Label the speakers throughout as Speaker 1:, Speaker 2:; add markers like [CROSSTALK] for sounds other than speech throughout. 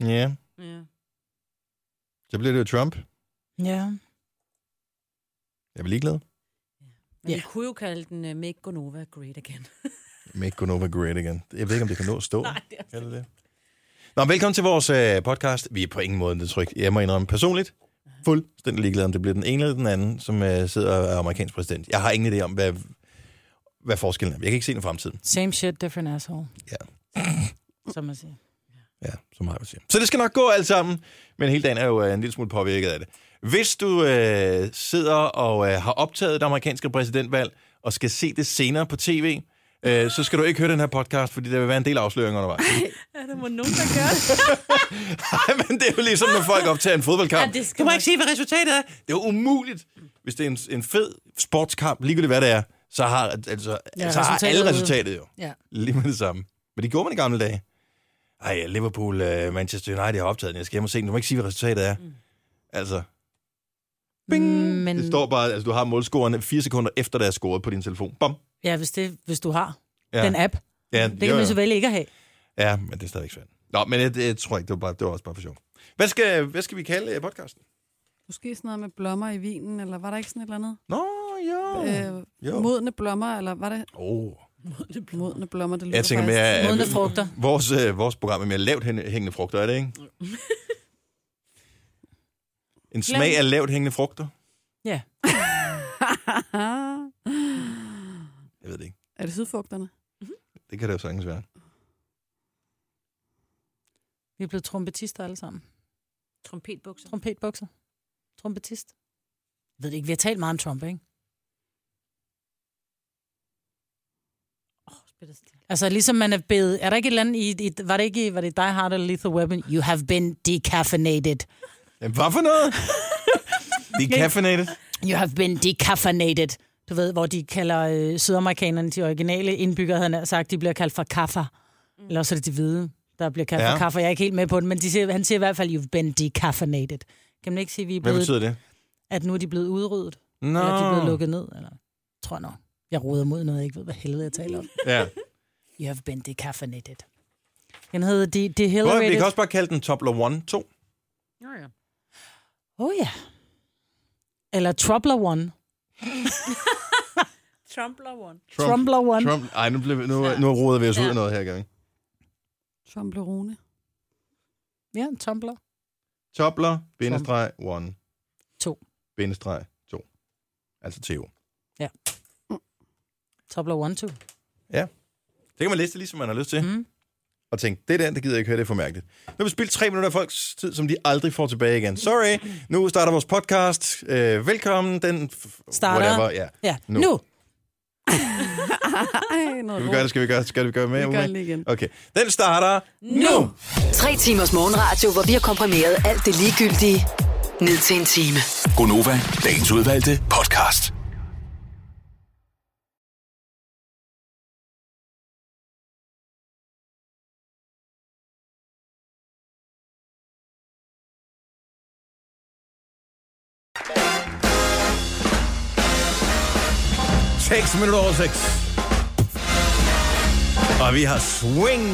Speaker 1: Ja,
Speaker 2: Ja.
Speaker 1: så bliver det jo Trump.
Speaker 3: Ja.
Speaker 1: Jeg er ligeglad.
Speaker 2: Men
Speaker 3: Ja.
Speaker 2: vi kunne jo kalde den uh, Make Gonova Great
Speaker 1: [LAUGHS]
Speaker 2: Again.
Speaker 1: Make Gonova great again. Jeg ved ikke, om det kan nå at stå.
Speaker 2: [LAUGHS] Nej, det er
Speaker 1: Kan det det? Nå, velkommen til vores øh, podcast. Vi er på ingen måde tryk. Jeg må indrømme personligt. Fuldstændig ligeglad, om det bliver den ene eller den anden, som øh, sidder og er amerikansk præsident. Jeg har ingen idé om, hvad, hvad forskellen er. Jeg kan ikke se den i fremtiden.
Speaker 3: Same shit, different asshole.
Speaker 1: Ja.
Speaker 3: Som man siger.
Speaker 1: Ja, som har siger. Så det skal nok gå alt sammen, men hele dagen er jo øh, en lille smule påvirket af det. Hvis du øh, sidder og øh, har optaget det amerikanske præsidentvalg, og skal se det senere på tv, øh, så skal du ikke høre den her podcast, fordi der vil være en del afsløringer undervejs.
Speaker 2: Ja, der må nogen, der gør det.
Speaker 1: Ej, [LAUGHS] men det er jo ligesom, når folk optager en fodboldkamp.
Speaker 2: Ja, det skal
Speaker 1: du må
Speaker 2: man-
Speaker 1: ikke sige, hvad resultatet er. Det er jo umuligt. Hvis det er en, en fed sportskamp, ligegyldigt hvad det er, så har, altså, ja,
Speaker 3: Ja,
Speaker 1: så har alle
Speaker 3: resultatet-
Speaker 1: resultatet jo.
Speaker 3: Ja.
Speaker 1: Lige med det samme. Men det gjorde man i gamle dage. Ej, Liverpool, øh, Manchester United har optaget den. Jeg skal hjem og se den. Du må ikke sige, hvad resultatet er. Mm. Altså, Bing!
Speaker 3: Mm, Men,
Speaker 1: det står bare, altså du har målscorerne fire sekunder efter, der er scoret på din telefon. Bom!
Speaker 3: Ja, hvis, det, hvis du har
Speaker 1: Ja.
Speaker 3: ja. den app.
Speaker 1: Ja,
Speaker 3: Det kan man så vælge ikke at have.
Speaker 1: Ja, men det er stadigvæk svært. Nå, men jeg, jeg tror ikke, det var, bare, det var også bare for sjov. Hvad skal, hvad skal vi kalde øh, podcasten?
Speaker 4: Måske sådan noget med blommer i vinen, eller var der ikke sådan et eller andet?
Speaker 1: Nå, jo.
Speaker 4: Øh,
Speaker 1: jo.
Speaker 4: modne blommer, eller var det
Speaker 1: Oh.
Speaker 4: modne blommer? Det lyder
Speaker 1: Jeg tænker
Speaker 4: faktisk-
Speaker 1: mere, at
Speaker 3: Modne frugter.
Speaker 1: vores, øh, vores program er mere lavt hæng- hængende frugter, er det
Speaker 3: [LAUGHS]
Speaker 1: ikke? En smag af lavt hængende frugter?
Speaker 3: Ja.
Speaker 1: Jeg ved det ikke.
Speaker 4: [LAUGHS] er det sydfugterne?
Speaker 1: Det kan det jo sagtens være.
Speaker 3: Vi er blevet trompetister alle sammen.
Speaker 2: Trompetbukser.
Speaker 3: Trompetbukser. Trompetist. Jeg ved det ikke, vi har talt meget om Trump, ikke?
Speaker 2: Åh, spiller stille.
Speaker 3: Altså ligesom man er blevet... Er der ikke et eller andet i... i var det ikke i- var det Die Hard eller Lethal Weapon? You have been decaffeinated.
Speaker 1: Jamen, hvad for
Speaker 3: [LAUGHS]
Speaker 1: noget? De caffeinated.
Speaker 3: You have been decaffeinated. Du ved, hvor de kalder øh, sydamerikanerne de originale indbyggere, havde jeg nær sagt, de bliver kaldt for kaffer. Eller også er det de hvide, der bliver kaldt
Speaker 1: Ja.
Speaker 3: ja. for kaffer. Jeg er ikke helt med på det, men de siger, han siger i hvert fald, you've been decaffeinated. Kan man ikke sige, vi er
Speaker 1: Hvad
Speaker 3: blevet,
Speaker 1: betyder det?
Speaker 3: at nu er de blevet udryddet?
Speaker 1: Nå.
Speaker 3: Eller de er blevet lukket ned? Eller, tror jeg nok. Jeg roder mod noget, jeg ikke ved, hvad helvede jeg taler om.
Speaker 1: Ja.
Speaker 3: You have been decaffeinated. Den hedder de,
Speaker 1: Hvor, vi
Speaker 3: Dehydrated.
Speaker 1: kan også bare kalde den Tobler 1, 2.
Speaker 2: Nå ja.
Speaker 3: Åh oh, ja. Eller Troubler One.
Speaker 2: Trumpler one.
Speaker 3: Trumbler One.
Speaker 1: Trump. Ej, nu, blev, nu, nu roder vi os ud af noget her gang.
Speaker 4: Tromblerone.
Speaker 3: Ja, Tumbler.
Speaker 1: Tobler, bindestreg, 1.
Speaker 3: To.
Speaker 1: Bindestreg, 2. Altså Theo.
Speaker 3: Tumbler One, two.
Speaker 1: Det kan man læse det, ligesom man har lyst til.
Speaker 3: Mm.
Speaker 1: og tænkte, det der, det gider jeg ikke høre, det er for mærkeligt. Nu har vi spildt tre minutter af folks tid, som de aldrig får tilbage igen. Sorry, nu starter vores podcast. Øh, velkommen, den... f- f-
Speaker 3: Starter.
Speaker 1: Whatever, ja.
Speaker 3: Ja,
Speaker 1: Nu.
Speaker 3: nu. nu.
Speaker 4: Ej, noget
Speaker 1: Skal vi gøre det, skal vi gøre det, skal vi gøre det med?
Speaker 4: Vi gør
Speaker 1: Ulla?
Speaker 4: det lige igen.
Speaker 1: Okay, den starter
Speaker 2: Nu!
Speaker 5: Tre timers morgenradio, hvor vi har komprimeret alt det ligegyldige ned til en time.
Speaker 6: Gonova, dagens udvalgte podcast.
Speaker 1: Seks minutter over 6. Og vi har swing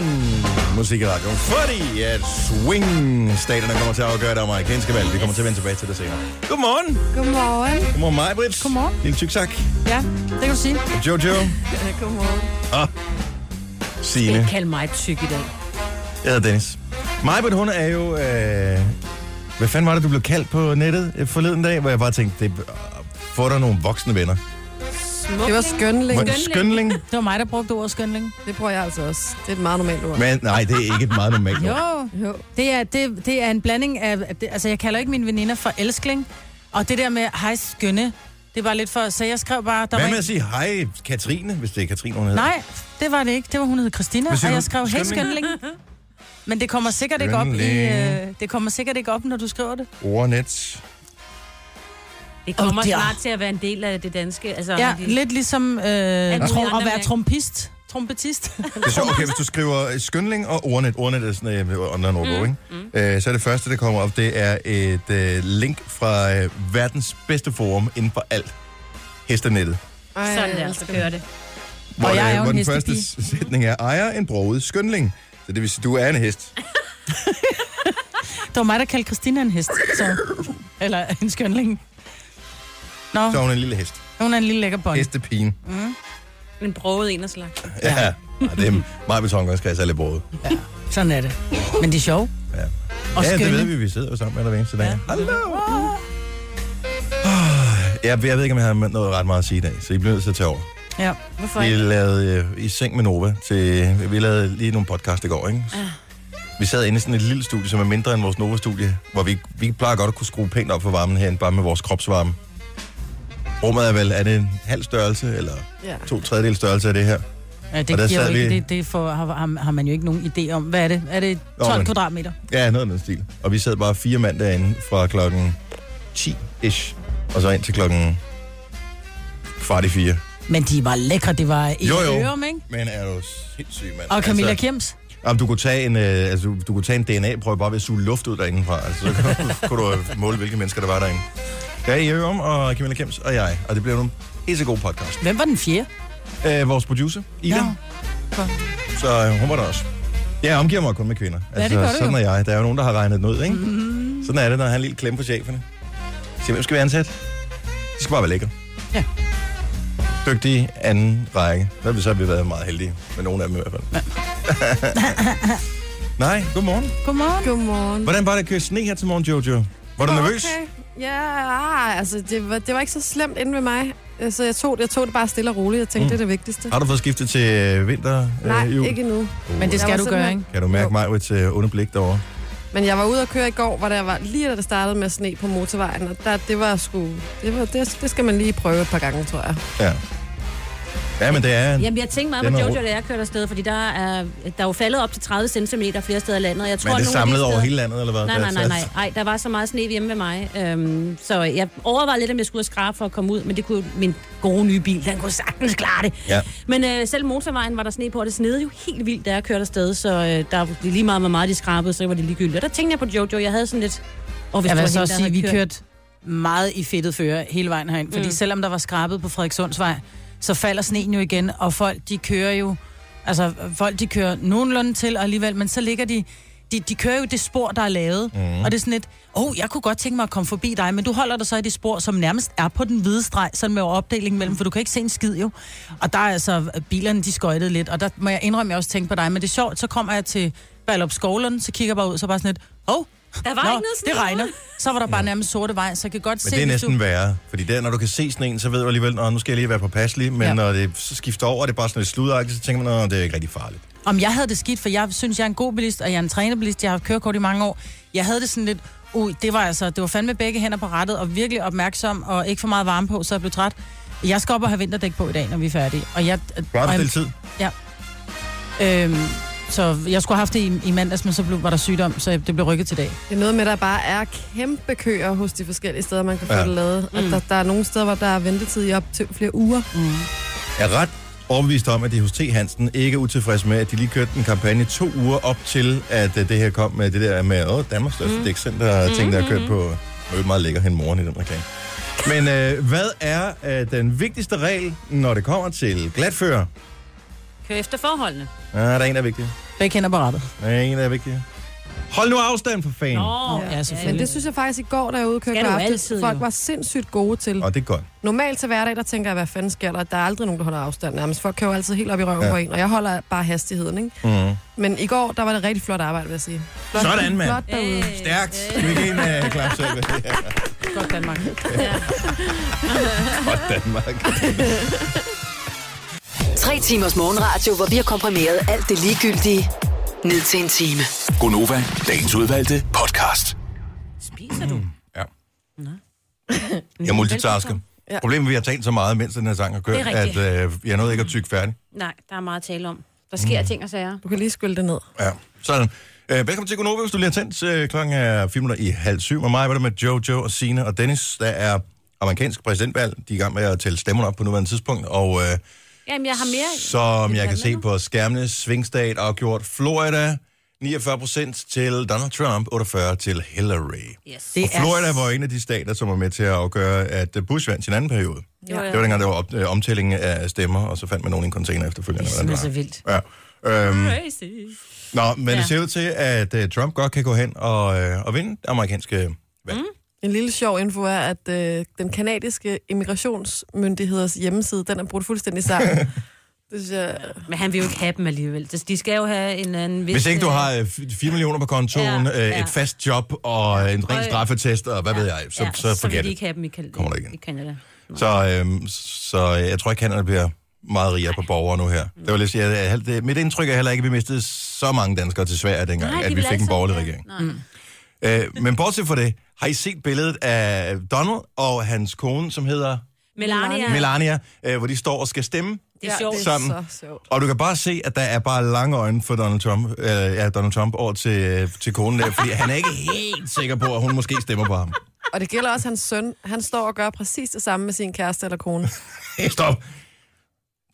Speaker 1: musik i radioen, fordi at swing staterne kommer til at afgøre det amerikanske valg. Vi kommer til at vende tilbage til det senere. Godmorgen.
Speaker 4: Godmorgen.
Speaker 1: Godmorgen mig, Britt.
Speaker 3: Godmorgen.
Speaker 1: Lille tyksak.
Speaker 3: Ja, det kan du sige.
Speaker 1: Jojo.
Speaker 4: Godmorgen.
Speaker 1: Signe.
Speaker 2: Kald mig tyk i dag.
Speaker 1: Jeg hedder Dennis. Majbert, hun er jo... Øh... Hvad fanden var det, du blev kaldt på nettet øh, forleden dag? Hvor jeg bare tænkte, det... øh, få dig nogle voksne venner.
Speaker 4: Det var skønling.
Speaker 1: Hvor- Skønling?
Speaker 3: Det var mig, der brugte ordet skønling.
Speaker 4: Det bruger jeg altså også. Det er et meget normalt ord.
Speaker 1: Men nej, det er ikke et meget normalt ord.
Speaker 3: Jo,
Speaker 4: Jo.
Speaker 3: det er, det, det er en blanding af... af Det, altså, jeg kalder ikke mine veninder for elskling. Og det der med, hej skønne, det var lidt for... Så jeg skrev bare... Der
Speaker 1: Hvad
Speaker 3: var
Speaker 1: med
Speaker 3: en,
Speaker 1: at sige hej, Katrine, hvis det er Katrine, hun hedder?
Speaker 3: Nej, det var det ikke. Det var, hun hed Christina,
Speaker 1: Hvad siger
Speaker 3: og
Speaker 1: du?
Speaker 3: jeg skrev, hey
Speaker 1: Skønling?
Speaker 3: skønling.
Speaker 1: [LAUGHS]
Speaker 3: Men det kommer sikkert ikke op i...
Speaker 1: Skønling.
Speaker 3: Øh, det kommer sikkert ikke op, når du skriver det.
Speaker 1: Ordnet.
Speaker 2: Det kommer
Speaker 3: Åh, det er-
Speaker 2: snart til at være en del af det danske. Altså,
Speaker 3: Ja,
Speaker 2: de-
Speaker 3: lidt ligesom øh,
Speaker 2: mulige
Speaker 3: trom-
Speaker 2: andre
Speaker 3: at være
Speaker 2: mærke.
Speaker 3: trompist. Trompetist. [LAUGHS]
Speaker 1: Det er sjovt, okay, hvis du skriver øh, skønling og ordnet. Ordnet er sådan en øh, online ordbog, ikke? Øh, så er det første, der kommer op, det er et øh, link fra øh, verdens bedste forum inden for alt. Hestenettet.
Speaker 4: Ej,
Speaker 2: Sådan der, så kører det.
Speaker 1: Hvor,
Speaker 3: Og jeg
Speaker 1: øh,
Speaker 3: er jo
Speaker 1: hvor
Speaker 3: en
Speaker 1: den første
Speaker 3: hestepige. Ah.
Speaker 1: sætning er, ejer en broget skønling. Så det vil sige, du er en hest.
Speaker 3: var mig, der kaldte Christina en hest. Så. Eller en skønling. Nå,
Speaker 1: Så er hun en lille hest.
Speaker 3: hun er en lille lækker bånd.
Speaker 1: Hestepigen.
Speaker 2: Men broget en af slags.
Speaker 1: Ja. ja. det er meget betonggangskreds er lidt både.
Speaker 3: Sådan er det. Men det er sjovt.
Speaker 1: Ja.
Speaker 3: Og
Speaker 1: ja, det
Speaker 3: skønne.
Speaker 1: ved vi, vi sidder jo sammen hver eneste dag. Ja. Hallo! Ah, Jeg, jeg ved ikke, om jeg har noget ret meget at sige i dag, så I bliver nødt til at tage over.
Speaker 3: Ja.
Speaker 2: Hvorfor
Speaker 1: Vi
Speaker 2: ikke?
Speaker 1: lavede øh, i seng med Nova til... Vi lavede lige nogle podcast i går, ikke? Vi sad inde i sådan et lille studie, som er mindre end vores Nova-studie, hvor vi, vi plejer godt at kunne skrue pænt op for varmen herinde, bare med vores kropsvarme. Rummet er vel, er det en halv størrelse, eller
Speaker 4: Ja.
Speaker 1: to tredjedel størrelse af det her?
Speaker 3: Ja,
Speaker 1: Og der
Speaker 3: det, giver jo
Speaker 1: sad
Speaker 3: ikke,
Speaker 1: vi-
Speaker 3: det, det får, har, har, har, man jo ikke nogen idé om. Hvad er det? Er det 12
Speaker 1: men-
Speaker 3: kvadratmeter?
Speaker 1: Ja, noget af den stil. Og vi sad bare fire mand derinde fra klokken 10-ish, og så ind til klokken kvart i fire.
Speaker 3: Men de var lækre, det var i
Speaker 1: Jo, jo.
Speaker 3: Ørum, ikke?
Speaker 1: Men er du sindssyg, mand.
Speaker 3: Og Camilla
Speaker 1: altså,
Speaker 3: Kims.
Speaker 1: om du kunne tage en, øh, altså, du kunne tage en DNA-prøve bare ved at suge luft ud derindefra. Altså, så kunne, kunne du øh, måle, hvilke mennesker der var derinde. Ja, I er om, og Camilla Kems og jeg. Og det blev en pisse god podcast.
Speaker 3: Hvem var den fjerde?
Speaker 1: Øh, vores producer, Ida.
Speaker 3: Nå. Godt.
Speaker 1: Så øh, hun var der også. Jeg omgiver mig kun med kvinder. Altså,
Speaker 3: det gør du
Speaker 1: sådan
Speaker 3: jo.
Speaker 1: er jeg. Der er jo nogen, der har regnet den ud, ikke? Mm-hmm. Sådan er det, når han har en lille klem på cheferne. Så hvem skal vi ansætte? De skal bare være lækre.
Speaker 3: Ja.
Speaker 1: Dygtige anden række. Så har vi, så har vi været meget heldige med nogle af dem i hvert fald. Ja. [LAUGHS] Nej, godmorgen.
Speaker 3: Godmorgen.
Speaker 4: Godmorgen.
Speaker 1: Hvordan var det at køre sne her til morgen, Jojo? Var du nervøs?
Speaker 4: Okay. Ja, ah, altså det var, det var ikke så slemt inde ved mig. Altså, jeg, tog, jeg tog det bare stille og roligt. Jeg tænkte, mm. det er det vigtigste.
Speaker 1: Har du fået skiftet til øh, vinter? øh,
Speaker 4: Nej,
Speaker 1: jul? Uh,
Speaker 4: ikke endnu.
Speaker 3: Men det
Speaker 4: Jeg var
Speaker 3: skal du gøre,
Speaker 4: simpelthen-
Speaker 3: ikke?
Speaker 1: Kan du mærke mig ved til underblik derovre?
Speaker 4: Men jeg var ude at køre i går, hvor der var lige da det startede med sne på motorvejen, og der, det var sgu... Det, var, det, det skal man lige prøve et par gange, tror jeg.
Speaker 1: Ja. Ja, men det er...
Speaker 2: Jamen, jeg tænkte meget
Speaker 1: Den
Speaker 2: på
Speaker 1: er
Speaker 2: Jojo,
Speaker 1: rå.
Speaker 2: da jeg kørte afsted, fordi der er, der er jo faldet op til 30 cm flere steder i landet. og Jeg tror,
Speaker 1: Men er det
Speaker 2: nogle af de
Speaker 1: samlet over
Speaker 2: steder-
Speaker 1: hele landet, eller hvad? Altså,
Speaker 2: Nej,
Speaker 1: Der
Speaker 2: nej,
Speaker 1: er
Speaker 2: nej, nej.
Speaker 1: taget-
Speaker 2: Ej, der var så meget sne hjemme ved mig. Øhm, så jeg overvejede lidt, om jeg skulle ud og skrabe for at komme ud, men det kunne min gode nye bil, den kunne sagtens klare det.
Speaker 1: Ja.
Speaker 2: Men øh, selv motorvejen var der sne på, og det snede jo helt vildt, da jeg kørte afsted, så øh, der var lige meget, hvor meget de skrabede, så var det ligegyldigt. Og der tænkte jeg på Jojo, jeg havde sådan lidt... Og
Speaker 3: Jeg vil så også sige, at vi kørte meget i fedtet fører hele vejen herind. Fordi
Speaker 2: Mm.
Speaker 3: mm. selvom der var skrabet på Frederikssundsvej, så falder sneen jo igen, og folk de kører jo... Altså, folk de kører nogenlunde til og alligevel, men så ligger de... De, de kører jo det spor, der er lavet, mm. og det er sådan lidt, åh, oh, jeg kunne godt tænke mig at komme forbi dig, men du holder dig så i det spor, som nærmest er på den hvide streg, sådan med opdelingen mellem, for du kan ikke se en skid jo. Og der er altså, bilerne de skøjtede lidt, og der må jeg indrømme, at jeg også tænkte på dig, men det er sjovt, så kommer jeg til Ballup Skovlen, så kigger jeg bare ud, så bare sådan lidt, åh, oh,
Speaker 2: Der var ikke
Speaker 3: Nå,
Speaker 2: noget sne.
Speaker 3: det regner. Så var der bare nærmest sorte vej, så jeg kan godt
Speaker 1: Men
Speaker 3: se,
Speaker 1: det er
Speaker 3: hvis
Speaker 1: næsten
Speaker 3: du...
Speaker 1: værre, fordi der, når du kan se sneen, så ved du alligevel, at nu skal jeg lige være påpasselig, men ja.
Speaker 3: Ja.
Speaker 1: når det så skifter over, og det er bare sådan lidt sludagtigt, så tænker man, at det er ikke rigtig farligt.
Speaker 3: Om jeg havde det skidt, for jeg synes, jeg er en god bilist, og jeg er en trænerbilist, jeg har haft kørekort i mange år. Jeg havde det sådan lidt, uh, det var altså, det var fandme begge hænder på rettet, og virkelig opmærksom, og ikke for meget varme på, så jeg blev træt. Jeg skal op og have vinterdæk på i dag, når vi er færdige. Og jeg,
Speaker 1: Bare
Speaker 3: og
Speaker 1: bestil tid.
Speaker 3: jeg, øhm, så jeg skulle have haft det i, i mandags, men så blev, var der sygdom, så det blev rykket til i dag.
Speaker 4: Det er noget med, at der bare er kæmpe køer hos de forskellige steder, man kan få
Speaker 1: Ja.
Speaker 4: ja. det lavet. Og
Speaker 2: Mm.
Speaker 4: der, der er nogle steder, hvor der er ventetid i op til flere uger.
Speaker 1: Jeg er ret overbevist om, at det hos T. Hansen ikke er utilfreds med, at de lige kørte en kampagne to uger op til, at øh, det her kom med det der med, åh, Danmarks største mm. dækcenter, ting, der er kørt på.
Speaker 2: Mm-hmm.
Speaker 1: Det er meget lækker hen moren i den reklame. Men øh, hvad er øh, den vigtigste regel, når det kommer til glatfører?
Speaker 2: Kør efter forholdene.
Speaker 1: Ah, der er en, der er vigtig.
Speaker 3: Begge hænder på rettet.
Speaker 1: Der er en, der er vigtig. Hold nu afstand for fanden.
Speaker 2: Nå,
Speaker 3: Ja, selvfølgelig.
Speaker 4: Men det synes jeg faktisk i går, da jeg ude kørte
Speaker 2: Skal du
Speaker 4: aftes,
Speaker 2: altid,
Speaker 4: folk
Speaker 2: jo.
Speaker 4: var sindssygt gode til.
Speaker 1: Og det er godt.
Speaker 4: Normalt til hverdag, der tænker jeg, hvad fanden sker der? Der er aldrig nogen, der holder afstand nærmest. Folk kører jo altid helt op i røven
Speaker 1: Ja.
Speaker 4: ja. på en, og jeg holder bare hastigheden, ikke?
Speaker 1: Mm.
Speaker 4: Men i går, der var det rigtig flot arbejde, vil jeg sige. Flot,
Speaker 1: Sådan, mand.
Speaker 4: Flot derude.
Speaker 2: Øh,
Speaker 1: Stærkt. Skal vi ikke en uh, klap selv?
Speaker 2: [LAUGHS]
Speaker 3: Godt Danmark.
Speaker 1: Godt Danmark.
Speaker 2: [LAUGHS]
Speaker 5: Tre timers morgenradio, hvor vi har komprimeret alt det ligegyldige ned til en time.
Speaker 6: Gonova, dagens udvalgte podcast.
Speaker 2: Spiser du?
Speaker 1: Ja. Jeg multitasker.
Speaker 2: Velbekomme.
Speaker 4: Ja.
Speaker 1: Problemet er, at vi har talt så meget, mens den her sang har kørt,
Speaker 2: Det er
Speaker 1: at
Speaker 2: rigtigt.
Speaker 1: øh, jeg nåede ikke at tykke færdig.
Speaker 2: Nej, der er meget at tale om. Der sker mm. ting og sager.
Speaker 4: Du kan lige skylle det ned.
Speaker 1: Ja. Sådan. Øh, velkommen til Gunova, hvis du lige har tændt. Øh, klokken er 4 minutter i halv syv. Med mig var det med Jojo og Sina og Dennis, der er amerikansk præsidentvalg. De er i gang med at tælle stemmerne op på nuværende tidspunkt, og øh,
Speaker 2: Jamen, jeg har mere...
Speaker 1: Som
Speaker 2: Vil du
Speaker 1: jeg
Speaker 2: have
Speaker 1: kan se
Speaker 2: med
Speaker 1: på skærmene, svingstat afgjort Florida, 49 procent til Donald Trump, 48 til Hillary.
Speaker 2: nu? Yes.
Speaker 3: Det
Speaker 1: Og
Speaker 3: er
Speaker 1: Florida var en af de stater, som var med til at afgøre, at Bush vandt sin anden periode.
Speaker 2: Ja.
Speaker 1: Det var dengang, der var op, øh, omtælling af stemmer, og så fandt man nogen i en container efterfølgende.
Speaker 3: Det er
Speaker 1: hvordan
Speaker 3: simpelthen så vildt.
Speaker 1: var. Ja. Øhm,
Speaker 2: Crazy.
Speaker 1: Nå, men ja.
Speaker 2: Ja.
Speaker 1: det ser ud til, at uh, Trump godt kan gå hen og, uh, og vinde det amerikanske valg. Mm.
Speaker 4: En lille sjov info er, at øh, den kanadiske immigrationsmyndigheders hjemmeside, den er brudt fuldstændig
Speaker 1: [LAUGHS]
Speaker 4: sammen. det synes jeg...
Speaker 2: Men han vil jo ikke have dem alligevel. Det- De skal jo have en anden... øh,
Speaker 1: Hvis ikke du har 4 millioner på kontoen,
Speaker 2: Ja,
Speaker 1: ja, ja.
Speaker 2: ja.
Speaker 1: et fast job og en ren
Speaker 2: Og-
Speaker 1: straffetest og hvad ja, ved jeg, så, ja, så, så
Speaker 2: så vil
Speaker 1: forget
Speaker 2: de
Speaker 1: det.
Speaker 2: ikke have dem i, Kal-
Speaker 1: Kommer der ikke.
Speaker 2: i Canada.
Speaker 1: Så, øhm, så jeg tror ikke, Canada bliver meget rigere på borgere nu her. Det var lidt, jeg, jeg, det, mit indtryk er heller ikke, at vi mistede så mange danskere til Sverige dengang,
Speaker 2: Nej,
Speaker 1: Nej,
Speaker 2: de
Speaker 1: at vi
Speaker 2: vil
Speaker 1: fik en
Speaker 2: altså-
Speaker 1: borgerlig
Speaker 2: ja,
Speaker 1: regering.
Speaker 2: nej. Mm.
Speaker 1: Øh, men bortset fra det, har I set billedet af Donald og hans kone, som hedder
Speaker 2: Melania,
Speaker 1: ja. Melania, øh, hvor de står og skal stemme?
Speaker 2: det er sjovt.
Speaker 4: det
Speaker 2: Ja,
Speaker 4: er
Speaker 1: Sammen.
Speaker 4: så sjovt.
Speaker 1: Og du kan bare se, at der er bare lange øjne for Donald Trump, øh, ja, Donald Trump over til, øh, til konen der, fordi han er ikke helt sikker på, at hun måske stemmer på ham.
Speaker 4: Og det gælder også hans søn. Han står og gør præcis det samme med sin kæreste eller
Speaker 1: [LAUGHS]
Speaker 4: kone.
Speaker 1: Hey, stop.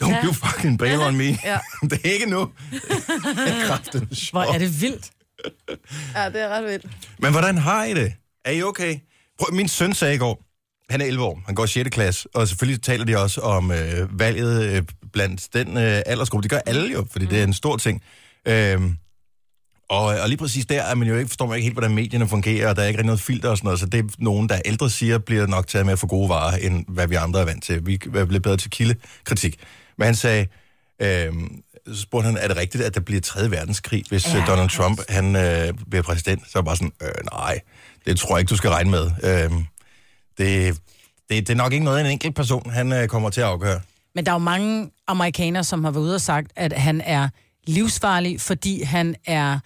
Speaker 1: Don't ja. you fucking bail on me.
Speaker 4: Ja.
Speaker 1: [LAUGHS] det er ikke nu. Det er kraftigt sjovt.
Speaker 3: Hvor er det vildt.
Speaker 4: Ja, det er ret vildt.
Speaker 1: Men hvordan har I det? Er I okay? Prøv, min søn sagde i går, han er 11 år, han går 6. klasse, og selvfølgelig taler de også om øh, valget øh, blandt den øh, aldersgruppe. Det gør alle jo, fordi mm. det er en stor ting. Øhm, og, og lige præcis der er man jo ikke, forstår man ikke helt, hvordan medierne fungerer, og der er ikke rigtig noget filter og sådan noget, så det er nogen, der er ældre siger, bliver nok taget med for gode varer, end hvad vi andre er vant til. Vi er blevet bedre til kildekritik. Men han sagde, øhm, så spurgte han, er det rigtigt, at der bliver 3. verdenskrig, hvis ja, Donald Trump han, øh, bliver præsident? Så var jeg bare sådan, øh, nej, det tror jeg ikke, du skal regne med. Øhm, det, det, det er nok ikke noget, en enkelt person han øh, kommer til at afgøre.
Speaker 3: Men der er jo mange amerikanere, som har været ude og sagt, at han er livsfarlig, fordi han er...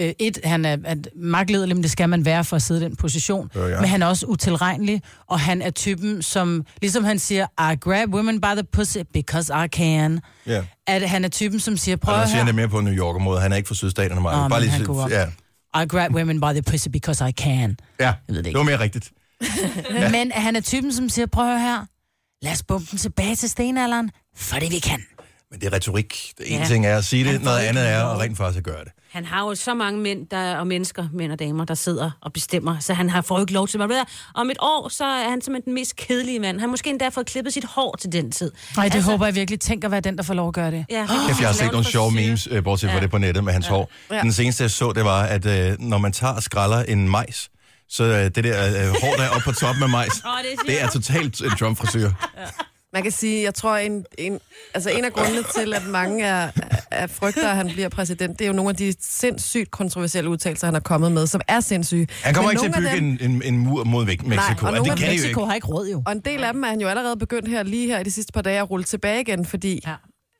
Speaker 3: Øh, et, han er at magtlederlig, men det skal man være for at sidde i den position.
Speaker 1: Øh, Ja, ja.
Speaker 3: Men han er også utilregnelig, og han er typen, som... Ligesom han siger, I grab women by the pussy because I can.
Speaker 1: Ja.
Speaker 3: At han er typen, som siger, prøv
Speaker 1: Og der
Speaker 3: at
Speaker 1: siger han
Speaker 3: høre,
Speaker 1: det mere på New Yorker måde. Han er ikke fra sydstaterne meget.
Speaker 3: Nå, men
Speaker 1: bare lige,
Speaker 3: han
Speaker 1: sige-
Speaker 3: kunne godt.
Speaker 1: ja.
Speaker 3: I grab women by the pussy because I can.
Speaker 1: ja, det,
Speaker 3: ved det
Speaker 1: det
Speaker 3: ikke.
Speaker 1: var mere rigtigt.
Speaker 3: Ja. Men at han er typen, som siger, prøv at høre her, lad os bumpe den tilbage til stenalderen, fordi vi kan.
Speaker 1: Men det er retorik. En ja.
Speaker 2: Ja.
Speaker 1: ting er at sige det,
Speaker 2: Han får
Speaker 1: noget
Speaker 2: ikke
Speaker 1: andet er
Speaker 2: lov.
Speaker 1: at rent faktisk at gøre det.
Speaker 2: Han har jo så mange mænd der, og mennesker, mænd og damer, der sidder og bestemmer, så han har får jo ikke lov til at være Om et år, så er han simpelthen den mest kedelige mand. Han har måske endda fået klippet sit hår til den tid.
Speaker 3: Nej, det altså... håber jeg virkelig. Tænk at være den, der får lov at gøre det.
Speaker 2: Ja,
Speaker 1: Kæft, jeg har set nogle sjove memes, øh, bortset fra ja. det på nettet med hans ja. hår.
Speaker 4: Ja.
Speaker 1: Den seneste, jeg så, det var, at øh, når man tager og skræller en majs, så øh, det der øh, hår, der er oppe på toppen af
Speaker 4: [LAUGHS]
Speaker 1: majs,
Speaker 2: Åh, det er
Speaker 1: det er totalt en Trump-frisyr.
Speaker 4: Man kan sige, jeg tror, en, en, altså en af grundene til, at mange er, er frygter, at han bliver præsident, det er jo nogle af de sindssygt kontroversielle udtalelser, han er kommet med, som er sindssyge.
Speaker 1: Han kommer
Speaker 4: Men
Speaker 1: ikke til at
Speaker 4: nogle af
Speaker 1: bygge
Speaker 4: dem,
Speaker 1: en, en, en mur mod Mexico.
Speaker 4: Nej, og
Speaker 1: det
Speaker 4: nogle af
Speaker 1: kan de jo
Speaker 3: Mexico
Speaker 1: ikke.
Speaker 3: har ikke råd jo.
Speaker 4: Og en del af dem er han jo allerede begyndt her lige her i de sidste par dage at rulle tilbage igen, fordi ja.
Speaker 2: Ja.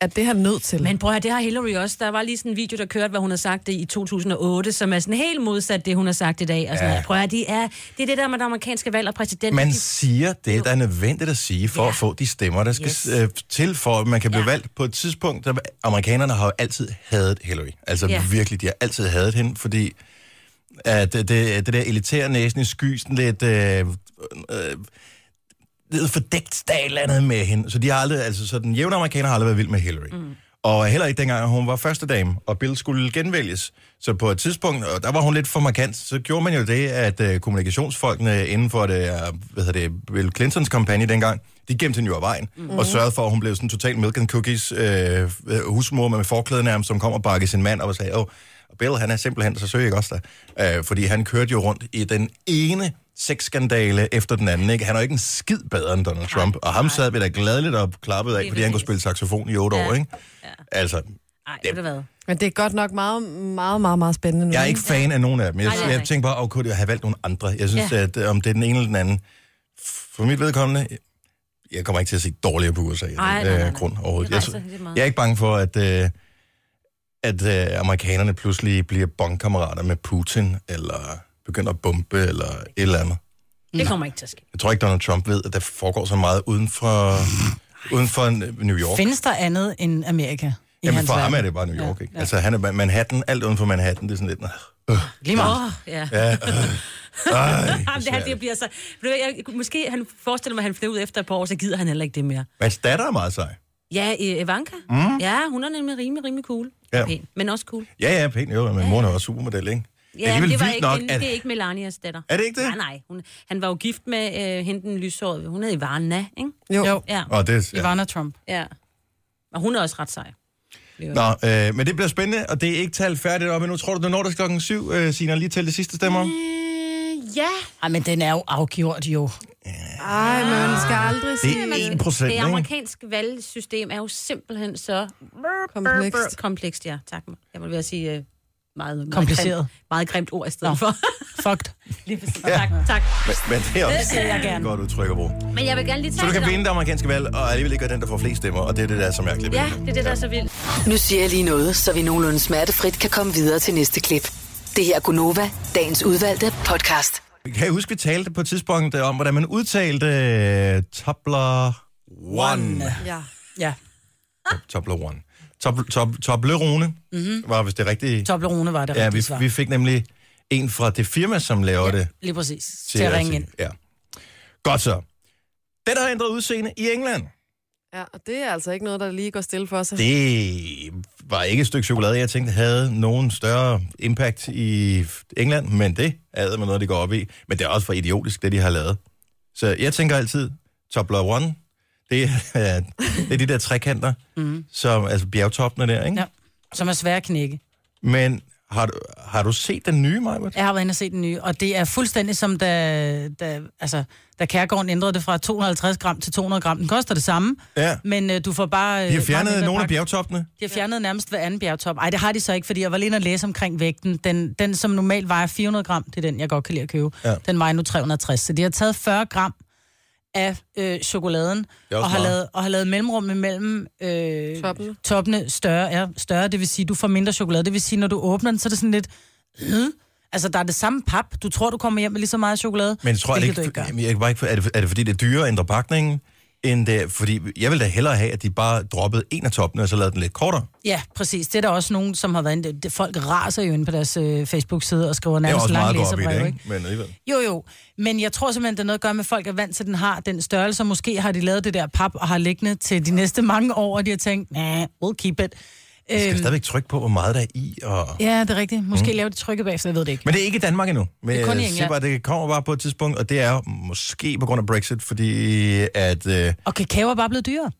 Speaker 4: at det er han nødt til.
Speaker 2: Men prøv at høre, det har Hillary også. Der var lige sådan en video, der kørte, hvad hun har sagt det i 2008, som er sådan helt modsat det, hun har sagt i dag. Og sådan
Speaker 1: Ja.
Speaker 2: ja. Prøv at høre, de er, det er det der med det amerikanske valg og præsident.
Speaker 1: Man
Speaker 2: de,
Speaker 1: siger det, der er nødvendigt at sige, for ja. at få de stemmer, der skal yes.
Speaker 2: Yes.
Speaker 1: øh, til, for at man kan blive ja.
Speaker 2: Ja.
Speaker 1: valgt på et tidspunkt. Der, amerikanerne har jo altid hadet Hillary. Altså ja.
Speaker 2: Ja.
Speaker 1: virkelig, de har altid hadet hende, fordi at det, det, det der elitære næsen i skysen lidt... Øh, øh, lidt fordækt, der er et eller andet med hende. Så de har aldrig, altså så den jævne amerikaner har aldrig været vild med Hillary. Mm. Og heller ikke dengang, hun var første dame, og Bill skulle genvælges. Så på et tidspunkt, og der var hun lidt for markant, så gjorde man jo det, at øh, kommunikationsfolkene inden for det, øh, hvad hedder det, Bill Clintons kampagne dengang, de gemte hende jo af vejen, mm. og sørgede for, at hun blev sådan total milk and cookies øh, øh, husmor med forklæde nærmest, som kom og bakkede sin mand op og sagde, åh, og Bill, han er simpelthen så søg, ikke også der? Øh, fordi han kørte jo rundt i den ene sexskandale efter den anden, ikke? Han er jo ikke en skid bedre end Donald Trump, og ham sad vi da gladeligt og klappet af,
Speaker 2: er
Speaker 1: fordi han kunne
Speaker 2: præcis.
Speaker 1: spille saxofon i otte
Speaker 2: Ja.
Speaker 1: år, ikke? Altså,
Speaker 2: Ej, ved du hvad?
Speaker 4: Men det er godt nok meget, meget, meget, meget spændende nu.
Speaker 1: jeg er ikke fan af nogen af dem. Jeg,
Speaker 2: Nej, det er
Speaker 1: jeg
Speaker 2: rigtigt.
Speaker 1: tænker bare, oh, kunne jeg have valgt nogle andre? Jeg synes, ja.
Speaker 2: Ja.
Speaker 1: at øh, om det er den ene eller den anden, for mit vedkommende, jeg kommer ikke til at se dårligere på USA af den
Speaker 2: nej, nej,
Speaker 1: øh,
Speaker 2: nej.
Speaker 1: grund overhovedet.
Speaker 2: Det
Speaker 1: Jeg,
Speaker 2: rejser
Speaker 1: sy-
Speaker 2: helt meget.
Speaker 1: jeg er ikke bange for, at, øh, at øh, amerikanerne pludselig bliver bondkammerater med Putin, eller begynder at bombe, eller et eller andet.
Speaker 2: Det kommer ikke til at ske.
Speaker 1: Jeg tror ikke, Donald Trump ved, at der foregår så meget uden for, uden for øh, New York.
Speaker 3: Findes der andet end Amerika? I
Speaker 1: Jamen
Speaker 3: hans
Speaker 1: for ham
Speaker 3: verden?
Speaker 1: er det bare New York, ja, ikke? Altså han er Manhattan, alt uden for Manhattan, det er sådan lidt... Øh,
Speaker 3: Lige meget.
Speaker 2: Åh, ja.
Speaker 1: ja, øh, øh,
Speaker 2: Jamen, det, han, det bliver så... Ved du hvad, Jeg, måske han forestiller mig, at han finder ud efter et par år, så gider han heller ikke det mere.
Speaker 1: Hans datter er meget sej.
Speaker 2: Ja, øh, Ivanka. Mm. Ja, hun er nemlig rimelig, rimelig cool.
Speaker 1: Ja.
Speaker 2: Ja. Pæn, men også cool.
Speaker 1: Ja, ja, pænt. Jo, men mor er også supermodel, ikke?
Speaker 2: Ja,
Speaker 1: er alligevel
Speaker 2: det, var
Speaker 1: vildt
Speaker 2: ikke,
Speaker 1: nok,
Speaker 2: hende,
Speaker 1: at-
Speaker 2: det er ikke Melanias datter.
Speaker 1: Er det ikke det?
Speaker 2: Nej, nej. Hun, han var jo gift med øh, hende den lyshårede. Hun hed Ivana, ikke?
Speaker 4: Jo.
Speaker 3: Jo.
Speaker 4: jo.
Speaker 3: jo.
Speaker 2: Ja.
Speaker 1: Og det, ja.
Speaker 3: Ivana Trump.
Speaker 2: ja. Og hun er også ret sej.
Speaker 1: Nå, øh, men det bliver spændende, og det er ikke talt færdigt op endnu. Tror du, du når det klokken syv, øh, Signe, og lige til det sidste stemmer?
Speaker 7: Ja.
Speaker 3: Ej, men den er jo afgjort, jo.
Speaker 4: Ej, men man skal aldrig
Speaker 1: Det
Speaker 4: sige
Speaker 1: er 1 procent,
Speaker 2: Det
Speaker 1: ikke?
Speaker 2: amerikanske valgsystem er jo simpelthen så
Speaker 4: komplekst.
Speaker 2: komplekst, ja. Tak. Jeg må ved at sige øh, meget, meget
Speaker 3: Kompliceret.
Speaker 2: Grimt, meget grimt ord i stedet
Speaker 3: [LAUGHS]
Speaker 2: for.
Speaker 3: Fucked.
Speaker 2: Lige præcis. Tak, tak.
Speaker 1: Men det er også
Speaker 3: siger jeg
Speaker 1: et
Speaker 3: gerne.
Speaker 1: godt udtryk at bruge.
Speaker 2: Men jeg vil gerne lige
Speaker 1: Så
Speaker 2: tage
Speaker 1: du kan
Speaker 2: det
Speaker 1: vinde det amerikanske valg, og alligevel ikke være den, der får flest stemmer, og det er det, der er så mærkeligt.
Speaker 2: om- Ja, det er det, der er så vildt.
Speaker 5: Nu siger jeg lige noget, så vi nogenlunde smertefrit kan komme videre til næste klip. Det her er Gunova, dagens udvalgte podcast.
Speaker 1: Kan jeg huske, vi talte på et tidspunkt øh, om, hvordan man udtalte øh, Tobler One.
Speaker 4: Ja.
Speaker 3: Ja.
Speaker 1: Tobler One. Tobl- Tob- Toblerone mm-hmm. var vist det rigtige.
Speaker 3: Toblerone Mhm. var det
Speaker 1: ja,
Speaker 3: rigtige
Speaker 1: vi,
Speaker 3: svar.
Speaker 1: vi fik nemlig en fra det firma, som laver ja. det.
Speaker 3: Lige præcis. Til at ringe ind.
Speaker 1: Ja. Godt så. Den har ændret udseende i England.
Speaker 4: ja, og det er altså ikke noget, der lige går stille for sig.
Speaker 1: Det var ikke et stykke chokolade, jeg tænkte havde nogen større impact i England, men det er med noget, det går op i. Men det er også for idiotisk, det de har lavet. Så jeg tænker altid, Tobler One, det er, [LAUGHS] det er de der trekanter, mm. som, altså bjergtoppene der, ikke? Ja.
Speaker 3: Ja. Som er svær at knække.
Speaker 1: Men har du, har du set den nye, Majbert?
Speaker 3: Jeg har været inde og set den nye, og det er fuldstændig som da, da, altså, da Kærgården ændrede det fra 250 gram til 200 gram. Den koster det samme,
Speaker 1: Ja.
Speaker 3: men øh, du får bare... øh,
Speaker 1: De har
Speaker 3: meget
Speaker 1: fjernet
Speaker 3: mindre
Speaker 1: nogle af
Speaker 3: pakke.
Speaker 1: bjergtoppene.
Speaker 3: De har fjernet nærmest hver anden bjergtop. Ej, det har de så ikke, fordi jeg var lige inde og læse omkring vægten. Den, den som normalt vejer 400 gram, det er den, jeg godt kan lide at købe.
Speaker 1: Ja.
Speaker 3: Ja. Den vejer nu 360. Så de har taget 40 gram af øh, chokoladen,
Speaker 1: er også
Speaker 3: og har,
Speaker 1: meget.
Speaker 3: lavet, og har lavet mellemrum imellem øh,
Speaker 4: Toppene.
Speaker 3: toppene større, ja, større. Det vil sige, du får mindre chokolade. Det vil sige, når du åbner den, så er det sådan lidt... Øh, altså, der er det samme pap. Du tror, du kommer hjem med lige så meget chokolade,
Speaker 1: Men jeg tror, er det
Speaker 3: hvilket du
Speaker 1: ikke,
Speaker 3: ikke gør.
Speaker 1: jamen, jeg kan bare ikke, er, det, er det fordi, det er dyrere at ændre pakningen? End det, fordi jeg ville da hellere have, at de bare droppede en af toppene, og så lavede den lidt kortere.
Speaker 3: Ja, præcis. Det er der også nogen, som har været... inde- det- Folk raser jo ind på deres øh, Facebook-side og skriver
Speaker 1: Det er
Speaker 3: nærmest
Speaker 1: også meget
Speaker 3: lange
Speaker 1: godt op i
Speaker 3: læserbrev,
Speaker 1: det,
Speaker 3: ikke?
Speaker 1: ikke? Men alligevel.
Speaker 3: Jo, jo. Men jeg tror simpelthen, det er noget at gøre med, at folk er vant til, at den har den størrelse. og Måske har de lavet det der pap og har liggende til de næste mange år, og de har tænkt, nah, we'll keep it.
Speaker 1: Jeg skal
Speaker 3: Øhm,
Speaker 1: stadigvæk trykke på, hvor meget der er i. Og...
Speaker 3: ja, det er rigtigt. Måske mm. lave det trykket bagefter, jeg ved det ikke.
Speaker 1: Men det er ikke i Danmark endnu. Men
Speaker 3: Det er kun i
Speaker 1: jeg siger
Speaker 3: England.
Speaker 1: bare, det kommer bare på et tidspunkt, og det er jo måske på grund af Brexit, fordi at, øh, det
Speaker 3: Og kakao er bare blevet dyrere.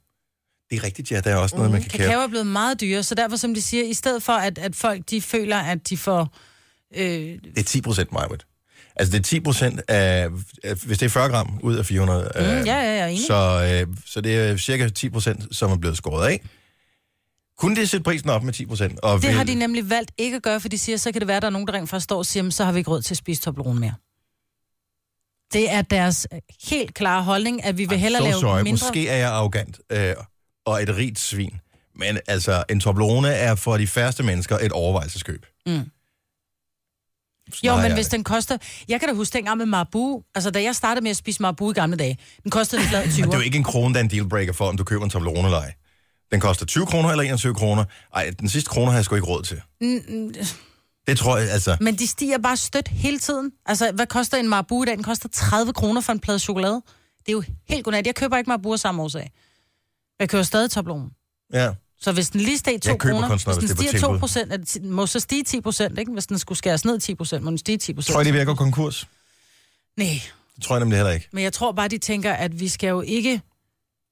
Speaker 1: er rigtigt, ja, der er også noget, man kan kære.
Speaker 3: Mm, Kakao er blevet meget dyrere, så derfor, som de siger, i stedet for, at, at folk de føler, at de får... Øh,
Speaker 1: Det er 10 procent, Majbert. Altså, det er 10 procent af, af, hvis det er 40 gram ud af 400. Mm, øh,
Speaker 3: ja, ja, jeg er enig.
Speaker 1: Så, øh, så det er cirka 10 procent, som er blevet skåret af. Kunne det sætte prisen op med 10 procent?
Speaker 3: det har de nemlig valgt ikke at gøre, for de siger, så kan det være, at der er nogen, der rent faktisk står og siger, "Jamen, så har vi ikke råd til at spise Toblerone mere. Det er deres øh, helt klare holdning, at vi vil hellere lave mindre...
Speaker 1: Måske er jeg arrogant øh, og et rigt svin. Men altså, en Toblerone er for de færreste mennesker et overvejelseskøb. Mm.
Speaker 3: Jo, men hvis den koster... Jeg kan da huske dengang med Marabu. Altså, da jeg startede med at spise Marabu i gamle dage, den kostede
Speaker 1: [LAUGHS]
Speaker 3: en flad 20.
Speaker 1: Det er jo ikke en krone, der er en dealbreaker for, om du køber en Toblerone eller ej. Den koster 20 kroner eller 21 kroner. Ej, den sidste krone har jeg sgu ikke råd til. Det tror jeg, altså...
Speaker 3: Men de stiger bare stødt hele tiden. Altså, hvad koster en Marabu i dag? Den koster 30 kroner for en plade chokolade. Det er jo helt godnat. Jeg køber ikke Marabu af samme årsag. Jeg køber stadig Toblerone.
Speaker 1: Ja.
Speaker 3: Så hvis den lige steg 2
Speaker 1: Jeg køber
Speaker 3: kroner,
Speaker 1: kun sådan noget,
Speaker 3: hvis den
Speaker 1: hvis det er på
Speaker 3: stiger 2
Speaker 1: tilbud.
Speaker 3: procent, er det ti- må så stige 10 procent, ikke? Hvis den skulle skæres ned 10 procent, må den stige 10 procent.
Speaker 1: Tror I, det virker konkurs?
Speaker 3: Nej,
Speaker 1: Det tror jeg nemlig heller ikke.
Speaker 3: men jeg tror bare, de tænker, at vi skal jo ikke...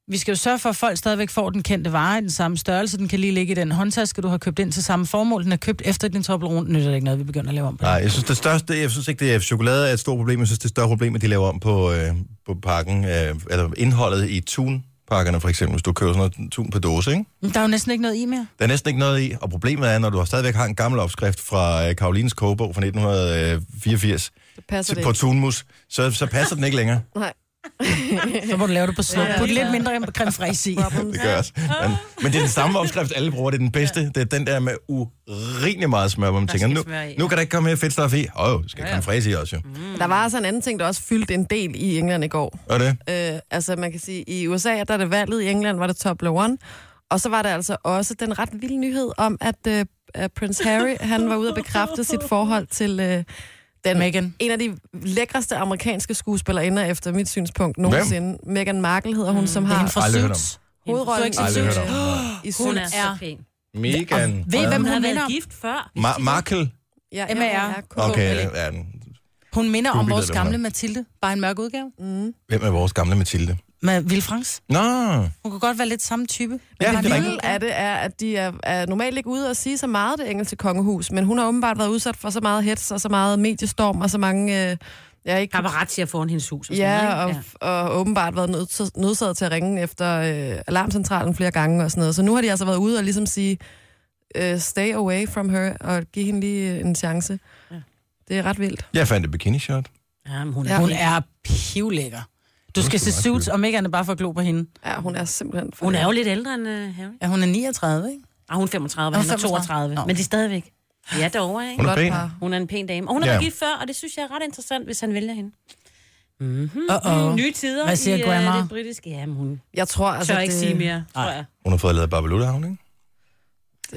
Speaker 3: Vi skal jo sørge for, at folk stadigvæk får den kendte vare i den samme størrelse. Den kan lige ligge i den håndtaske, du har købt ind til samme formål. Den er købt efter din Toblerone. Nytter det ikke noget, vi begynder at lave om på
Speaker 1: Nej,
Speaker 3: det.
Speaker 1: jeg synes, det største, jeg synes ikke, det er chokolade er et stort problem. Jeg synes, det er et større problem, at de laver om på, øh, på pakken, øh, eller indholdet i tunpakkerne for eksempel, hvis du køber sådan noget tun på dåse, ikke?
Speaker 3: Men Der er jo næsten ikke noget i mere.
Speaker 1: Der er næsten ikke noget i, og problemet er, når du stadigvæk har en gammel opskrift fra øh, Karolines kogebog fra 1984
Speaker 4: Det passer
Speaker 1: til,
Speaker 4: det
Speaker 1: på
Speaker 4: ikke.
Speaker 1: tunmus, så, så passer den ikke længere.
Speaker 4: Nej.
Speaker 3: Så må du lave det på slum.
Speaker 4: Ja.
Speaker 3: Put lidt mindre creme fraise
Speaker 4: [LAUGHS]
Speaker 1: [LAUGHS]
Speaker 3: i.
Speaker 1: Det gør jeg også. Men, men det er den samme opskrift, alle bruger. Det er den bedste. Det er den der med urimelig meget smør, hvor man tænker, nu,
Speaker 2: skal smør i, ja.
Speaker 1: nu kan der ikke komme mere fedtstof i. Åh, oh, skal komme fræse i også jo. Mm.
Speaker 4: Der var altså en anden ting, der også fyldte en del i England i går.
Speaker 1: Og det?
Speaker 4: Øh, altså man kan sige, i USA, der er det valget, i England var det Toblerone. Og så var der altså også den ret vilde nyhed om, at øh, at Prince Harry, han var ude og bekræfte sit forhold til øh, den,
Speaker 3: Meghan.
Speaker 4: en af de lækreste amerikanske skuespillerinder, efter mit synspunkt nogensinde. Meghan Markle hedder hun, mm, som
Speaker 3: Hende
Speaker 4: har
Speaker 3: fra
Speaker 1: Aldrig hørt om.
Speaker 3: Suits.
Speaker 4: hovedrollen
Speaker 3: Aldrig
Speaker 4: i,
Speaker 1: hørt om.
Speaker 4: i
Speaker 2: Hun er
Speaker 4: Suits.
Speaker 2: så
Speaker 3: Ja.
Speaker 2: pæn.
Speaker 1: Megan.
Speaker 3: Ved I, hvem
Speaker 2: Hun har
Speaker 3: hun minder
Speaker 2: været
Speaker 3: om?
Speaker 2: gift før.
Speaker 1: Ma- Markel?
Speaker 4: Ja,
Speaker 3: M.A.R..
Speaker 4: M.A.R..
Speaker 1: Okay, ja, ja, den.
Speaker 3: Hun minder om
Speaker 1: Google
Speaker 3: vores
Speaker 1: det, hvem
Speaker 3: gamle
Speaker 1: hun
Speaker 3: Mathilde. Bare en mørk udgave.
Speaker 1: hvem er vores gamle Mathilde?
Speaker 3: med Villefrans.
Speaker 1: Nå,
Speaker 3: Hun kunne godt være lidt samme type.
Speaker 1: Ja,
Speaker 3: Men
Speaker 1: det er
Speaker 3: hun-
Speaker 1: rigtigt.
Speaker 4: Del af det er, at de er, er normalt ikke ude og sige så meget det engelske kongehus, men hun har åbenbart været udsat for så meget hets og så meget mediestorm og så mange... Øh, jeg ikke
Speaker 2: Paparazzier foran hendes hus. Og sådan
Speaker 4: Ja,
Speaker 2: noget,
Speaker 4: og,
Speaker 2: ikke?
Speaker 4: og åbenbart været nøds- nødsaget til at ringe efter øh, alarmcentralen flere gange og sådan noget. Så nu har de altså været ude og ligesom sige, øh, stay away from her, og give hende lige øh, en chance.
Speaker 2: Ja.
Speaker 4: Det er ret vildt.
Speaker 1: jeg fandt et bikini-shot.
Speaker 2: ja. ja men hun er,
Speaker 4: Ja.
Speaker 2: ja.
Speaker 3: Hun er pivlækker. Du skal se suits, om ikke andet bare for at glo på hende.
Speaker 4: Ja, hun er simpelthen... For
Speaker 2: hun er jo lidt ældre end uh, Harry.
Speaker 3: Ja, hun er 39, ikke?
Speaker 2: Ah, hun er 35, og
Speaker 3: Hun
Speaker 2: han er 32.
Speaker 3: Nå.
Speaker 2: Men det er stadigvæk. Ja, derovre, ikke?
Speaker 1: Hun er
Speaker 4: Godt
Speaker 1: pæn.
Speaker 4: par.
Speaker 2: Hun er en pæn dame. Og hun har været
Speaker 1: Ja.
Speaker 2: gift før, og det synes jeg er ret interessant, hvis han vælger hende.
Speaker 4: Mm.
Speaker 3: Uh-oh.
Speaker 2: Nye tider
Speaker 3: Hvad siger
Speaker 2: i øh,
Speaker 3: grandma?
Speaker 2: det britiske. Jamen, hun tør
Speaker 4: Jeg tror altså...
Speaker 2: ikke sige mere, tror jeg.
Speaker 1: Hun har fået lavet Babaluta-havn, ikke?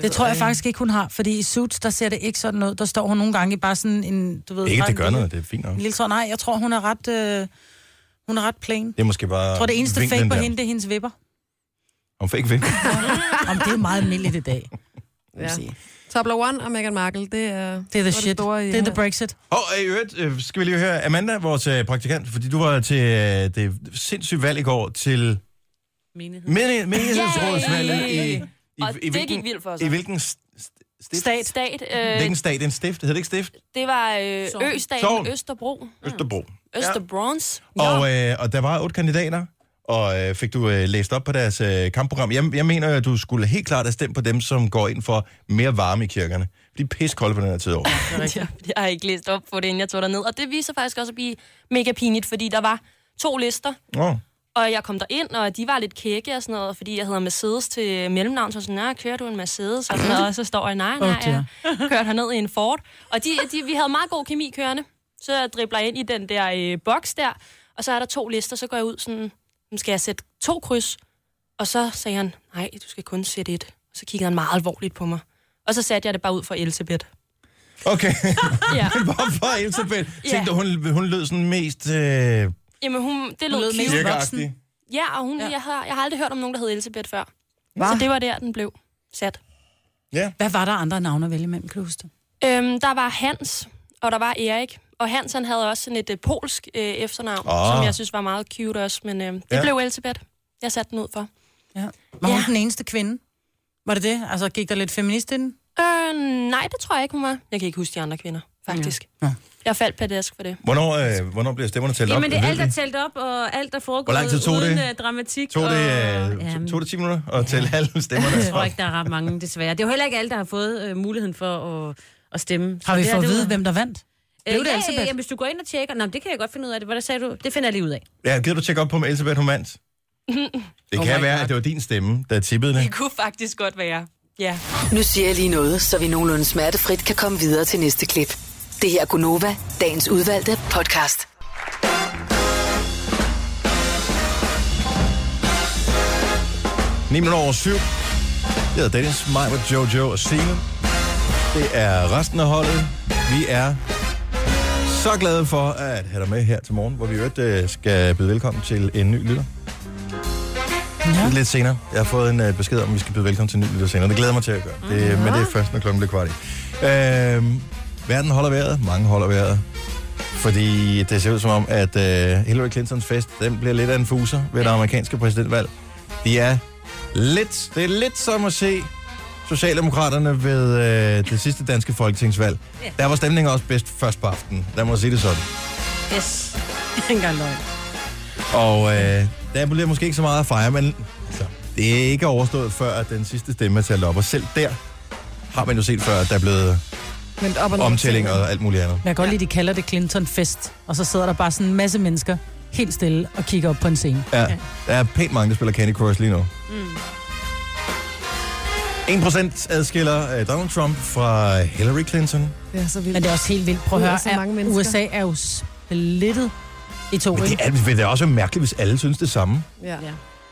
Speaker 3: Det tror jeg faktisk ikke, hun har, fordi i Suits, der ser det ikke sådan ud. Der står hun nogle gange i bare sådan en, du ved...
Speaker 1: Ikke, at
Speaker 3: bare
Speaker 1: det
Speaker 3: en
Speaker 1: gør
Speaker 3: lille-
Speaker 1: noget, det er fint nok.
Speaker 3: En lille tråd. Nej, jeg tror, hun er ret... Øh, hun er ret plain.
Speaker 1: Det er måske bare...
Speaker 3: Jeg tror, det eneste
Speaker 1: vinklen
Speaker 3: fake på
Speaker 1: der.
Speaker 3: hende, det er hendes vipper.
Speaker 1: Om fake [LAUGHS] vinklen.
Speaker 3: Om det er meget almindeligt i dag.
Speaker 4: Ja. Tobler One og Meghan Markle, det er...
Speaker 3: Det er the
Speaker 4: det
Speaker 3: shit.
Speaker 4: store i-
Speaker 3: Det er the Brexit.
Speaker 1: Og i øvrigt, øh, skal vi lige høre Amanda, vores øh, praktikant, fordi du var til øh, det sindssyge valg i går til
Speaker 2: Menighed.
Speaker 1: meni- menighedsrådsvalget i, i, i,
Speaker 7: Og det
Speaker 1: hvilken,
Speaker 7: gik vildt for sig.
Speaker 1: i hvilken st- st- stift?
Speaker 3: Stat.
Speaker 7: Stat,
Speaker 1: Hvilken
Speaker 7: øh,
Speaker 1: stat? Det er en stift. Hedder det ikke stift?
Speaker 7: det var øh,
Speaker 2: Sogn.
Speaker 7: Østaten,
Speaker 1: Sogn.
Speaker 7: Østerbro,
Speaker 1: Østerbro.
Speaker 7: Østerbrons.
Speaker 1: Og, øh, og der var otte kandidater, og øh, fik du øh, læst op på deres øh, kampprogram. Jeg, jeg mener, at du skulle helt klart have stemt på dem, som går ind for mere varme i kirkerne. De er pissekolde på den her tid over.
Speaker 7: Ja, det har [LAUGHS] jeg ikke læst op på det, inden jeg tog derned. Og det viser faktisk også at blive mega pinligt, fordi der var to lister,
Speaker 1: Nå,
Speaker 7: og jeg kom derind, og de var lidt kække og sådan noget, fordi jeg hedder Mercedes til mellemnavn, så sådan, nej, kører du en Mercedes? Og, sådan noget, og så står jeg, nej, nej,
Speaker 3: Åh, dear.
Speaker 7: jeg kørte herned i en Ford. Og de, de, vi havde meget god kemi kørende, så jeg dribler ind i den der øh, boks der, og så er der to lister, så går jeg ud sådan, "Nu skal jeg sætte to kryds? Og så sagde han, nej, du skal kun sætte et. Og så kiggede han meget alvorligt på mig. Og så satte jeg det bare ud for Elisabeth.
Speaker 1: okay.
Speaker 7: Ja.
Speaker 2: [LAUGHS]
Speaker 1: Hvorfor Elisabeth?
Speaker 7: Ja.
Speaker 1: Tænkte du, hun, hun lød sådan mest øh,
Speaker 7: Jamen, hun, det lød
Speaker 3: lød mega
Speaker 7: cute.
Speaker 1: kirkeagtig?
Speaker 7: Ja, og hun, ja. Jeg, har, jeg har aldrig hørt om nogen, der hed Elisabeth før.
Speaker 4: Hva?
Speaker 7: Så det var der, den blev sat.
Speaker 3: Hvad var der andre navne at vælge imellem, kan du huske det?
Speaker 7: Øhm, der var Hans, og der var Erik. Og Hans han havde også sådan et øh, polsk øh, efternavn,
Speaker 1: Ah.
Speaker 7: oh. som jeg synes var meget cute også. Men øh, det
Speaker 1: Ja.
Speaker 7: ja. blev Elisabeth. Jeg satte den ud for.
Speaker 3: Ja. Var hun
Speaker 7: Ja.
Speaker 3: den eneste kvinde? Var det det? Altså, gik der lidt feminist i den?
Speaker 7: Øh, nej, det tror jeg ikke, hun var. Jeg kan ikke huske de andre kvinder, faktisk. Ja.
Speaker 3: Ja.
Speaker 7: Ja. Jeg faldt pladask for det.
Speaker 1: Hvornår, øh, hvornår bliver stemmerne talt op?
Speaker 2: Jamen, det er
Speaker 1: Ved
Speaker 2: alt,
Speaker 1: vi?
Speaker 2: der er talt op, og alt, der foregår
Speaker 1: Hvor lang tid tog
Speaker 2: uden
Speaker 1: det?
Speaker 2: øh, dramatik.
Speaker 1: Tog det,
Speaker 2: og...
Speaker 1: øh, to- tog det 10 minutter at tælle alle
Speaker 2: [LAUGHS]
Speaker 1: stemmerne?
Speaker 2: Jeg tror ikke, der er ret mange, desværre. Det er jo heller ikke alle, der har fået øh, muligheden for at, at stemme. Så
Speaker 3: Har vi
Speaker 2: det
Speaker 3: fået
Speaker 2: her,
Speaker 3: at
Speaker 2: det
Speaker 3: vide,
Speaker 2: var-
Speaker 3: hvem der vandt?
Speaker 2: Øh,
Speaker 3: Blev det
Speaker 2: ja,
Speaker 3: Elisabeth?
Speaker 2: Ja, ja, hvis du går ind og tjekker... Nå, men det kan jeg godt finde ud af. Det, hvordan sagde du? Det finder jeg lige ud af.
Speaker 1: Ja, gider du tjekke op på, om Elisabeth hun
Speaker 2: [LAUGHS]
Speaker 1: vandt?
Speaker 2: Oh
Speaker 1: Det kan
Speaker 3: my
Speaker 1: være,
Speaker 3: God.
Speaker 1: at det var din stemme, der tippede det.
Speaker 7: Det kunne faktisk godt være. Ja.
Speaker 5: Nu siger jeg lige noget, så vi nogenlunde smertefrit kan komme videre til næste klip. Det her er Gunova, dagens udvalgte podcast.
Speaker 1: Ni minutter over syv. Jeg hedder Dennis, mig var Jojo og Signe. Det er resten af holdet. Vi er så glade for at have dig med her til morgen, hvor vi i øvrigt øh, skal byde velkommen til en ny lytter. Ja. Lidt senere. Jeg har fået en øh, besked om, at vi skal byde velkommen til en ny lytter senere. Det glæder jeg mig til at gøre. Det, Men det er først, når klokken bliver kvart i. Øh, verden holder vejret. Mange holder vejret. Fordi det ser ud som om, at øh, Hillary Clintons fest, den bliver lidt af en fuser ved det amerikanske præsidentvalg. De er lidt, det er lidt som at se Socialdemokraterne ved øh, det sidste danske folketingsvalg.
Speaker 2: Ja.
Speaker 1: Der var stemningen også bedst først på aftenen. Lad mig sige det sådan.
Speaker 3: [LAUGHS]
Speaker 2: Yes. Det er ikke engang løgn.
Speaker 1: Og øh, der bliver måske ikke så meget at fejre, men altså, det er ikke overstået før, at den sidste stemme er talt op. Og selv der har man jo set før, at der er blevet
Speaker 4: Men op og ned.
Speaker 1: omtælling og alt muligt andet.
Speaker 3: Jeg kan godt lide, de kalder det Clinton Fest. Og så sidder der bare sådan en masse mennesker helt stille og kigger op på en scene.
Speaker 1: Ja, der er pænt mange, der spiller Candy Crush lige nu. Mm. 1% adskiller øh, Donald Trump fra Hillary Clinton.
Speaker 4: Det er så vildt.
Speaker 3: Men det er også helt vildt. Prøv at
Speaker 4: Ud af
Speaker 3: høre,
Speaker 4: så
Speaker 3: at
Speaker 4: mange mennesker.
Speaker 3: USA er jo splittet i to.
Speaker 1: Men det
Speaker 3: ikke?
Speaker 1: er, vil det også være mærkeligt, hvis alle synes det samme.
Speaker 4: Ja.
Speaker 2: Ja.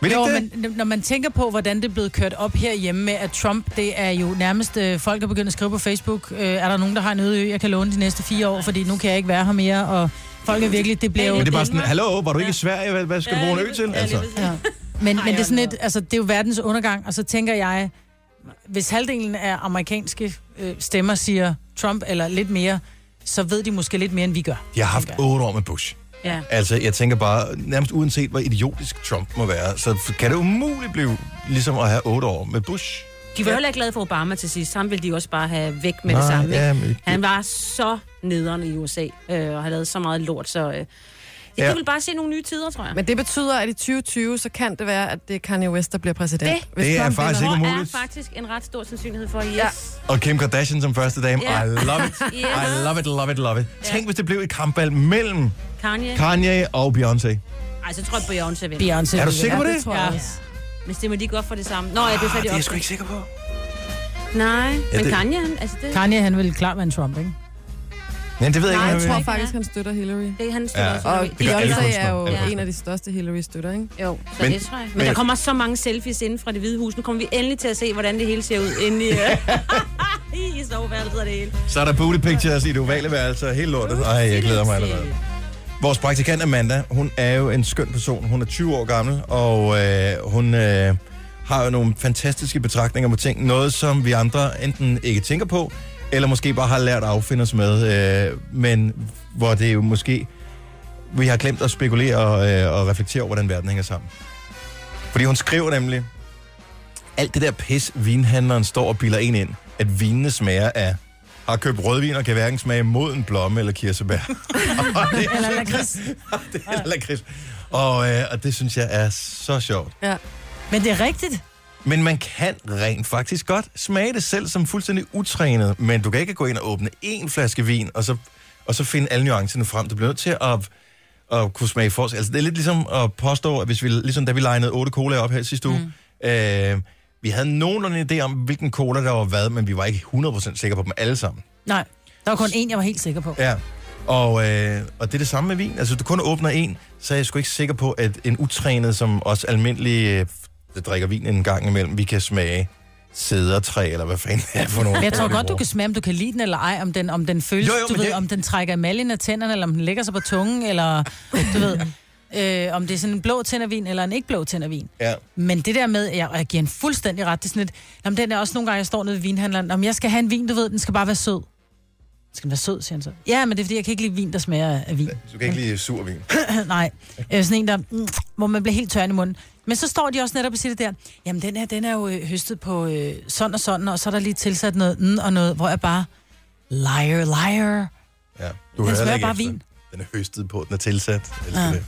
Speaker 1: Vil det
Speaker 3: Jo,
Speaker 1: ikke det?
Speaker 3: men n- når man tænker på, hvordan det er blevet kørt op herhjemme med, at Trump, det er jo nærmest, øh, folk er begyndt at skrive på Facebook, øh, er der nogen, der har en øde ø, jeg kan låne de næste fire år, fordi nu kan jeg ikke være her mere, og folk er virkelig, det bliver jo...
Speaker 1: Men det er bare sådan,
Speaker 2: Danmark.
Speaker 1: hallo, var du ikke i Sverige? Hvad, hvad skal du
Speaker 2: Ja,
Speaker 1: bruge en
Speaker 2: lige
Speaker 1: ø
Speaker 2: præcis.
Speaker 1: til?
Speaker 2: Ja,
Speaker 1: Altså,
Speaker 2: lige præcis.
Speaker 3: Ja. Men, men det er sådan lidt, altså, det er jo verdens undergang, og så tænker jeg, hvis halvdelen af amerikanske øh, stemmer siger Trump, eller lidt mere, så ved de måske lidt mere, end vi gør.
Speaker 1: de har haft otte år med Bush.
Speaker 3: Ja.
Speaker 1: Altså, jeg tænker bare, nærmest uanset hvor idiotisk Trump må være, så f- kan det umuligt blive ligesom at have otte år med Bush.
Speaker 2: De var heller ikke glade for Obama til sidst. Ham ville de også bare have væk med
Speaker 1: Nej,
Speaker 2: det samme.
Speaker 1: ja,
Speaker 2: ikke?
Speaker 1: men-
Speaker 2: Han var så nederen i USA, øh, og har lavet så meget lort, så... Øh,
Speaker 1: Ja.
Speaker 2: ja. vil bare se nogle nye tider, tror jeg.
Speaker 4: Men det betyder, at i 2020, så kan det være, at det er Kanye West, der bliver præsident.
Speaker 2: Det-
Speaker 4: Hvis
Speaker 1: Det er
Speaker 4: Trump
Speaker 1: faktisk
Speaker 4: vinder.
Speaker 1: ikke
Speaker 2: Der er
Speaker 1: muligt.
Speaker 2: faktisk en ret stor sandsynlighed for, yes.
Speaker 4: Ja.
Speaker 2: Ja.
Speaker 1: Og Kim Kardashian som første dame,
Speaker 2: Ja.
Speaker 1: I love it.
Speaker 2: Ja.
Speaker 1: I love it, love it, love it. Tænk, hvis det blev et kampvalg mellem
Speaker 2: Kanye.
Speaker 1: Kanye og Beyoncé.
Speaker 2: Ej, så tror jeg, Beyoncé vinder.
Speaker 3: Beyoncé.
Speaker 1: Er du sikker på
Speaker 4: Ja,
Speaker 1: det?
Speaker 4: det tror jeg også.
Speaker 2: Men stemmer de godt for det samme? Nå, ja, det er
Speaker 1: Ah,
Speaker 2: fat i op.
Speaker 1: ikke sikker på.
Speaker 2: Nej, men
Speaker 1: det-
Speaker 2: Kanye, han, altså det,
Speaker 3: Kanye, han ville klart være en Trump, ikke?
Speaker 1: Men det ved jeg
Speaker 4: Nej,
Speaker 1: ikke,
Speaker 4: jeg
Speaker 1: om
Speaker 4: tror
Speaker 1: vil.
Speaker 4: faktisk, han støtter Hillary.
Speaker 2: det han
Speaker 1: Ja.
Speaker 2: stiller også.
Speaker 4: Og
Speaker 2: under-
Speaker 1: gør alle
Speaker 4: Beyoncé er jo
Speaker 1: kunstnere. Ja.
Speaker 4: en af de største Hillary-støtter, ikke?
Speaker 2: Jo, så
Speaker 1: Men-
Speaker 2: men, det tror jeg. Men,
Speaker 1: men-
Speaker 2: men der kommer så mange selfies inden fra det hvide hus. Nu kommer vi endelig til at se, hvordan det hele ser ud inde
Speaker 1: [LAUGHS]
Speaker 2: i, øh, i soveværelset og det hele.
Speaker 1: Så er der booty pictures i det ovale værelse og hele lortet. Ej, jeg glæder mig allerede. Vores praktikant Amanda, hun er jo en skøn person. Hun er 20 år gammel, og øh, hun øh, har jo nogle fantastiske betragtninger på ting. Noget, som vi andre enten ikke tænker på, eller måske bare har lært at affinde os med. Øh, men hvor det jo måske... Vi har glemt at spekulere og, øh, og reflektere over, hvordan verden hænger sammen. Fordi hun skriver nemlig... Alt det der pis, vinhandleren står og bilder en ind, at vinene smager af har købt rødvin og kan hverken smage moden blomme eller
Speaker 3: [LAUGHS]
Speaker 1: kirsebær. Og det er
Speaker 3: Eller lakrids.
Speaker 1: [LAUGHS] det er lakrids. Og, øh, og det synes jeg er så sjovt.
Speaker 4: Ja.
Speaker 3: Men det er rigtigt.
Speaker 1: Men man kan rent faktisk godt smage det selv som fuldstændig utrænet, men du kan ikke gå ind og åbne én flaske vin, og så, og så finde alle nuancerne frem. Du bliver nødt til at, at kunne smage for Altså, det er lidt ligesom at påstå, at hvis vi, ligesom da vi legnede otte cola op her sidste uge, mm. øh, vi havde nogenlunde en idé om, hvilken cola der var hvad, men vi var ikke 100% sikre på dem alle sammen.
Speaker 3: Nej, der var kun en, jeg var helt sikker på.
Speaker 1: Ja. Og, øh, og det er det samme med vin. Altså, du kun åbner en, så er jeg sgu ikke sikker på, at en utrænet, som også almindelig øh, der drikker vin en gang imellem, vi kan smage sædertræ, eller hvad fanden det er for nogle.
Speaker 3: Men jeg tror
Speaker 1: ord, vi
Speaker 3: godt, du
Speaker 1: bruger.
Speaker 3: kan smage, om du kan lide den eller ej, om den, om den føles,
Speaker 1: Jo,
Speaker 3: jo,
Speaker 1: jo,
Speaker 3: jo, du
Speaker 1: men
Speaker 3: ved,
Speaker 1: det-
Speaker 3: det... om den trækker emaljen af tænderne, eller om den lægger sig på tungen, eller du
Speaker 1: [LAUGHS]
Speaker 3: ved, øh, om det er sådan en blå tændervin, eller en ikke blå tændervin.
Speaker 1: Ja.
Speaker 3: Men det der med, jeg, og jeg giver en fuldstændig ret, det er sådan lidt, jamen den er også nogle gange, jeg står nede ved vinhandleren, om jeg skal have en vin, du ved, den skal bare være sød. Skal den være sød, siger han så. Ja, men det er fordi, jeg kan ikke lide vin, der smager af vin.
Speaker 1: Du kan ikke lide sur vin.
Speaker 3: [LAUGHS] Nej, øh, sådan en der, mm, hvor man bliver helt tør i munden. Men så står de også netop og siger det der, jamen den her, den er jo øh, høstet på øh, sådan og sådan, og så er der lige tilsat noget mm, og noget, hvor jeg bare, liar, liar.
Speaker 1: Ja. Du
Speaker 3: Den
Speaker 1: hører
Speaker 3: smager
Speaker 1: ikke
Speaker 3: bare
Speaker 1: efter.
Speaker 3: vin.
Speaker 1: Den er høstet på, den er tilsat. Jeg elsker
Speaker 3: Ja.
Speaker 1: det.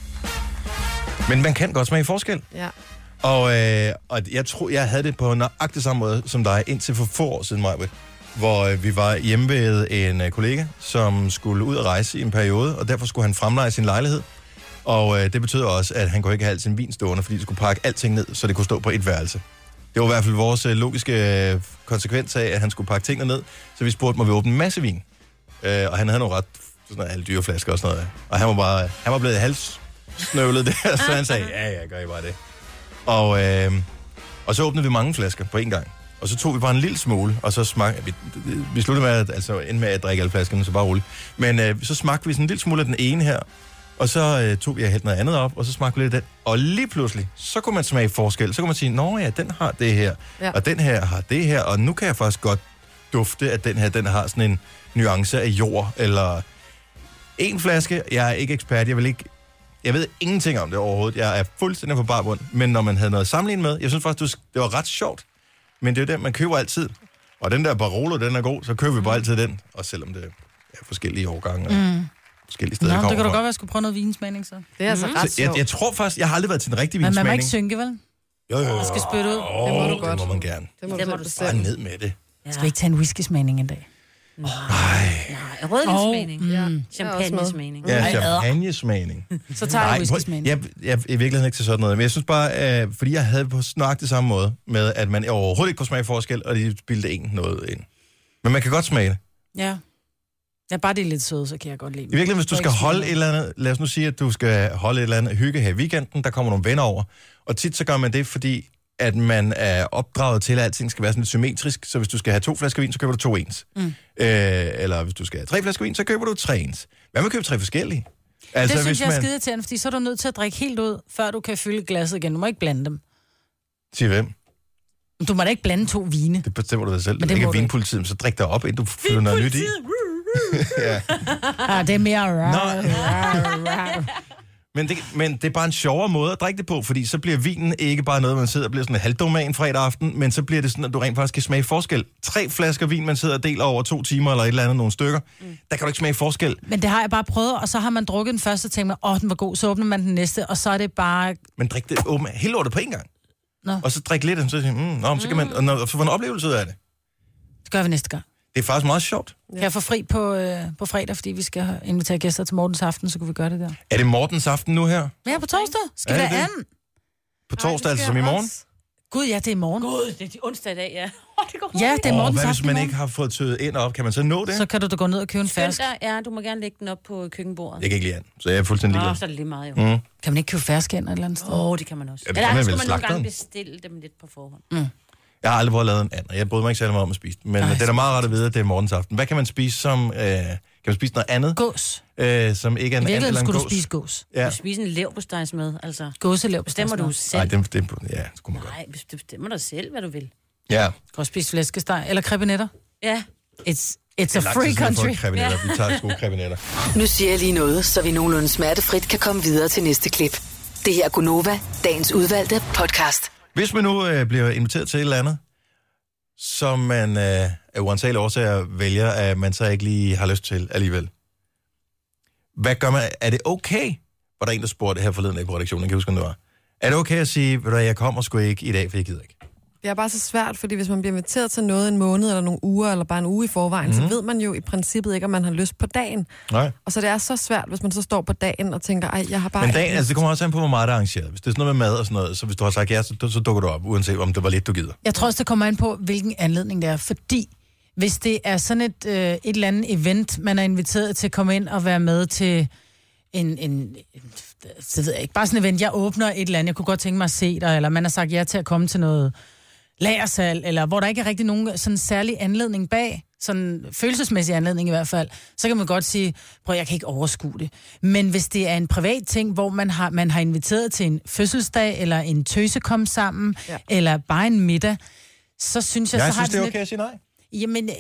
Speaker 1: Men man kan godt smage forskel.
Speaker 4: ja.
Speaker 1: Og, øh, og jeg tror, jeg havde det på nøjagtig samme måde som dig indtil for få år siden, Majbrit, hvor øh, vi var hjemme ved en øh, kollega, som skulle ud og rejse i en periode, og derfor skulle han fremleje sin lejlighed. Og øh, det betød også, at han kunne ikke have al sin vin stående, fordi de skulle pakke alting ned, så det kunne stå på et værelse. Det var i hvert fald vores øh, logiske øh, konsekvens af, at han skulle pakke tingene ned, så vi spurgte, må vi åbne en masse vin? Øh, og han havde nogle ret sådan noget, alle dyre flasker og sådan noget. Og han var, bare, han var blevet halssnøvlet [LAUGHS] der, så han sagde, ja, ja, gør I bare det. Og, øh, og så åbnede vi mange flasker på én gang. Og så tog vi bare en lille smule, og så smagte vi... Vi sluttede med at, altså, endte med at drikke alle flaskerne, så bare roligt. Men øh, så smagte vi sådan en lille smule af den ene her, og så øh, tog vi og hældte noget andet op, og så smagte vi lidt af den. Og lige pludselig, så kunne man smage forskel. Så kunne man sige, nå ja, den har det her, ja.
Speaker 4: Ja.
Speaker 1: og den her har det her, og nu kan jeg faktisk godt dufte, at den her, den har sådan en nuance af jord, eller en flaske. Jeg er ikke ekspert, jeg vil ikke jeg ved ingenting om det overhovedet. Jeg er fuldstændig på bar bund. Men når man havde noget sammenlignet med, jeg synes faktisk, du sk- det var ret sjovt. Men det er jo den, man køber altid. Og den der Barolo, den er god, så køber vi bare altid den. Og selvom det er forskellige årgange og mm. forskellige
Speaker 3: Nå,
Speaker 1: steder,
Speaker 3: det
Speaker 1: kommer
Speaker 3: kan du godt
Speaker 1: fra.
Speaker 3: være, at jeg skulle prøve noget vinsmagning så.
Speaker 4: Det er altså ret
Speaker 1: Så jeg,
Speaker 4: sjovt.
Speaker 1: jeg tror faktisk, jeg har aldrig været til en rigtig
Speaker 3: Men man må
Speaker 1: vinsmagning.
Speaker 3: ikke synke, vel?
Speaker 1: Jo, jo, jo.
Speaker 3: Man skal spytte ud.
Speaker 1: Åh,
Speaker 4: Det må du
Speaker 1: det
Speaker 4: godt.
Speaker 1: må man gerne.
Speaker 4: Det må
Speaker 2: Det
Speaker 4: du
Speaker 2: må
Speaker 4: selv
Speaker 2: du
Speaker 1: Bare
Speaker 4: bestemme.
Speaker 1: ned med det.
Speaker 2: Ja.
Speaker 3: Skal vi ikke tage en whisky-smagning en dag?
Speaker 2: Nej, rødvinsmening.
Speaker 4: Ja.
Speaker 2: Champagnesmening.
Speaker 1: Ja,
Speaker 3: Ej, adder.
Speaker 1: champagnesmagning.
Speaker 3: Så tager jeg en whisky-smagning.
Speaker 1: jeg, jeg er i virkeligheden ikke til sådan noget, men jeg synes bare, øh, fordi jeg havde det på snart det samme måde, med at man overhovedet ikke kunne smage forskel, og de bildte en noget ind. Men man kan godt smage det.
Speaker 3: Ja. Ja, bare det er lidt søde, så kan jeg godt lide
Speaker 1: I virkeligheden, hvis du skal holde et eller andet, lad os nu sige, at du skal holde et eller andet hygge her i weekenden, der kommer nogle venner over, og tit så gør man det, fordi at man er opdraget til, at alting skal være sådan lidt symmetrisk, så hvis du skal have to flasker vin, så køber du to ens. Mm. Øh, eller hvis du skal have tre flasker vin, så køber du tre ens. Hvad med at købe tre forskellige?
Speaker 3: Altså, det synes jeg er skide til, fordi så er du nødt til at drikke helt ud, før du kan fylde glasset igen. Du må ikke blande dem.
Speaker 1: Til hvem?
Speaker 3: Du må da ikke blande to vine.
Speaker 1: Det bestemmer du dig selv. Men det
Speaker 3: Men det
Speaker 1: ikke
Speaker 3: må
Speaker 1: er
Speaker 3: du ikke.
Speaker 1: vinpolitiet, men så drik dig op, inden du fylder noget nyt i. [LAUGHS] ja.
Speaker 3: [LAUGHS] Ah, det er mere...
Speaker 1: Nå. Men det, men det er bare en sjovere måde at drikke det på, fordi så bliver vinen ikke bare noget, man sidder og bliver sådan en halvdoman fredag aften, men så bliver det sådan, at du rent faktisk kan smage forskel. Tre flasker vin, man sidder og deler over to timer eller et eller andet, nogle stykker, mm. der kan du ikke smage forskel.
Speaker 3: Men det har jeg bare prøvet, og så har man drukket den første og tænkt, åh, oh, den var god, så åbner man den næste, og så er det bare...
Speaker 1: Men drik det åben, hele lortet på én gang.
Speaker 3: Nå.
Speaker 1: Og så drik lidt, og så, siger, mm, nå, men så kan man og når, så få en oplevelse ud af det.
Speaker 3: Det gør vi næste gang.
Speaker 1: Det er faktisk meget sjovt.
Speaker 3: Kan jeg få fri på, øh, på fredag, fordi vi skal invitere gæster til Mortens Aften, så kunne vi gøre det der.
Speaker 1: Er det Mortens aften nu her?
Speaker 3: Ja, på torsdag. Skal
Speaker 1: Er
Speaker 3: vi
Speaker 1: det
Speaker 3: have
Speaker 1: det?
Speaker 3: anden?
Speaker 1: På torsdag, altså som i morgen?
Speaker 3: Gud, ja, det er i morgen.
Speaker 2: Gud, det er de onsdag i dag, ja. [LAUGHS] Åh, det går hurtigt.
Speaker 3: Ja, det er
Speaker 1: Åh,
Speaker 3: Mortens
Speaker 1: hvad hvis
Speaker 3: Aften
Speaker 1: man
Speaker 3: i
Speaker 1: ikke har fået tøet ind og op? Kan man så nå det?
Speaker 3: morgen. Så kan du da gå ned og købe en fersk.
Speaker 2: Søndag, ja, du må gerne lægge den op på køkkenbordet.
Speaker 1: Jeg kan ikke lide anden, så jeg er fuldstændig
Speaker 2: Åh,
Speaker 1: ligeglad.
Speaker 2: så er det lige meget, jo. Åh, mm.
Speaker 3: Kan man ikke købe fersk ind et eller andet sted?
Speaker 2: oh, det kan man også.
Speaker 1: Ja, det
Speaker 2: Eller
Speaker 1: kan man
Speaker 2: så
Speaker 1: vel
Speaker 2: kan man nogle
Speaker 1: slagteren.
Speaker 2: gange bestille dem lidt på forhånd.
Speaker 1: Jeg har aldrig prøvet at lave en and, og jeg bryder mig ikke særlig meget om at spise den. Men Ej, det er da meget rart at vide, at det er morgensaften. Hvad kan man spise som... Øh, kan man spise noget andet,
Speaker 3: Gås.
Speaker 1: øh, som ikke er en
Speaker 3: I
Speaker 1: and
Speaker 3: virkeligheden
Speaker 1: eller en
Speaker 3: skulle du
Speaker 1: gås?
Speaker 3: spise gås.
Speaker 2: Ja.
Speaker 1: Ja.
Speaker 2: Du spiser en lev på med, altså.
Speaker 3: Gåselev.
Speaker 2: Bestemmer du
Speaker 1: Nej,
Speaker 2: selv?
Speaker 1: det, det, ja, det skulle man godt.
Speaker 2: Nej, du bestemmer dig selv, hvad du vil.
Speaker 1: Ja.
Speaker 3: Du kan også spise flæskesteg eller krebinetter.
Speaker 2: Ja,
Speaker 3: It's, it's a
Speaker 1: Lang tid
Speaker 3: free
Speaker 1: siden, jeg har fået
Speaker 3: country.
Speaker 1: krebinetter. Vi tager sgu krebinetter.
Speaker 5: Nu siger jeg lige noget, så vi nogenlunde smertefrit kan komme videre til næste klip. Det her er Gunova, dagens udvalgte podcast.
Speaker 1: Hvis man nu øh, bliver inviteret til et eller andet, som man øh, af uansagelige årsager vælger, at man så ikke lige har lyst til alligevel. Hvad gør man? Er det okay? Var der en, der spurgte her forleden af på redaktionen, jeg kan huske, om det var. Er det okay at sige, ved du hvad, jeg kommer sgu ikke i dag, for jeg gider ikke?
Speaker 4: Det er bare så svært, fordi hvis man bliver inviteret til noget en måned eller nogle uger, eller bare en uge i forvejen, mm.
Speaker 1: Mhm.
Speaker 4: så ved man jo i princippet ikke, om man har lyst på dagen.
Speaker 1: Nej.
Speaker 4: Og så det er så svært, hvis man så står på dagen og tænker, ej, jeg har bare...
Speaker 1: Men
Speaker 4: ikke
Speaker 1: dagen,
Speaker 4: lyst."
Speaker 1: altså det kommer også an på, hvor meget der er arrangeret. Hvis det er sådan noget med mad og sådan noget, så hvis du har sagt ja, så, så dukker du op, uanset om det var lidt, du gider.
Speaker 3: Jeg tror også, det kommer an på, hvilken anledning det er. Fordi hvis det er sådan et, øh, et eller andet event, man er inviteret til at komme ind og være med til en, en, en så ved jeg ikke, bare sådan et event, jeg åbner et eller andet, jeg kunne godt tænke mig at se dig, eller man har sagt ja til at komme til noget lagersal, eller hvor der ikke er rigtig nogen sådan særlig anledning bag, sådan følelsesmæssig anledning i hvert fald, så kan man godt sige, prøv jeg kan ikke overskue det. Men hvis det er en privat ting, hvor man har, man har inviteret til en fødselsdag, eller en tøsekom sammen, ja. eller bare en middag, så synes jeg,
Speaker 1: Jeg
Speaker 3: så har
Speaker 1: synes, det
Speaker 3: jeg
Speaker 1: er
Speaker 3: sådan lidt-
Speaker 1: okay at sige nej.
Speaker 3: Jamen, øh,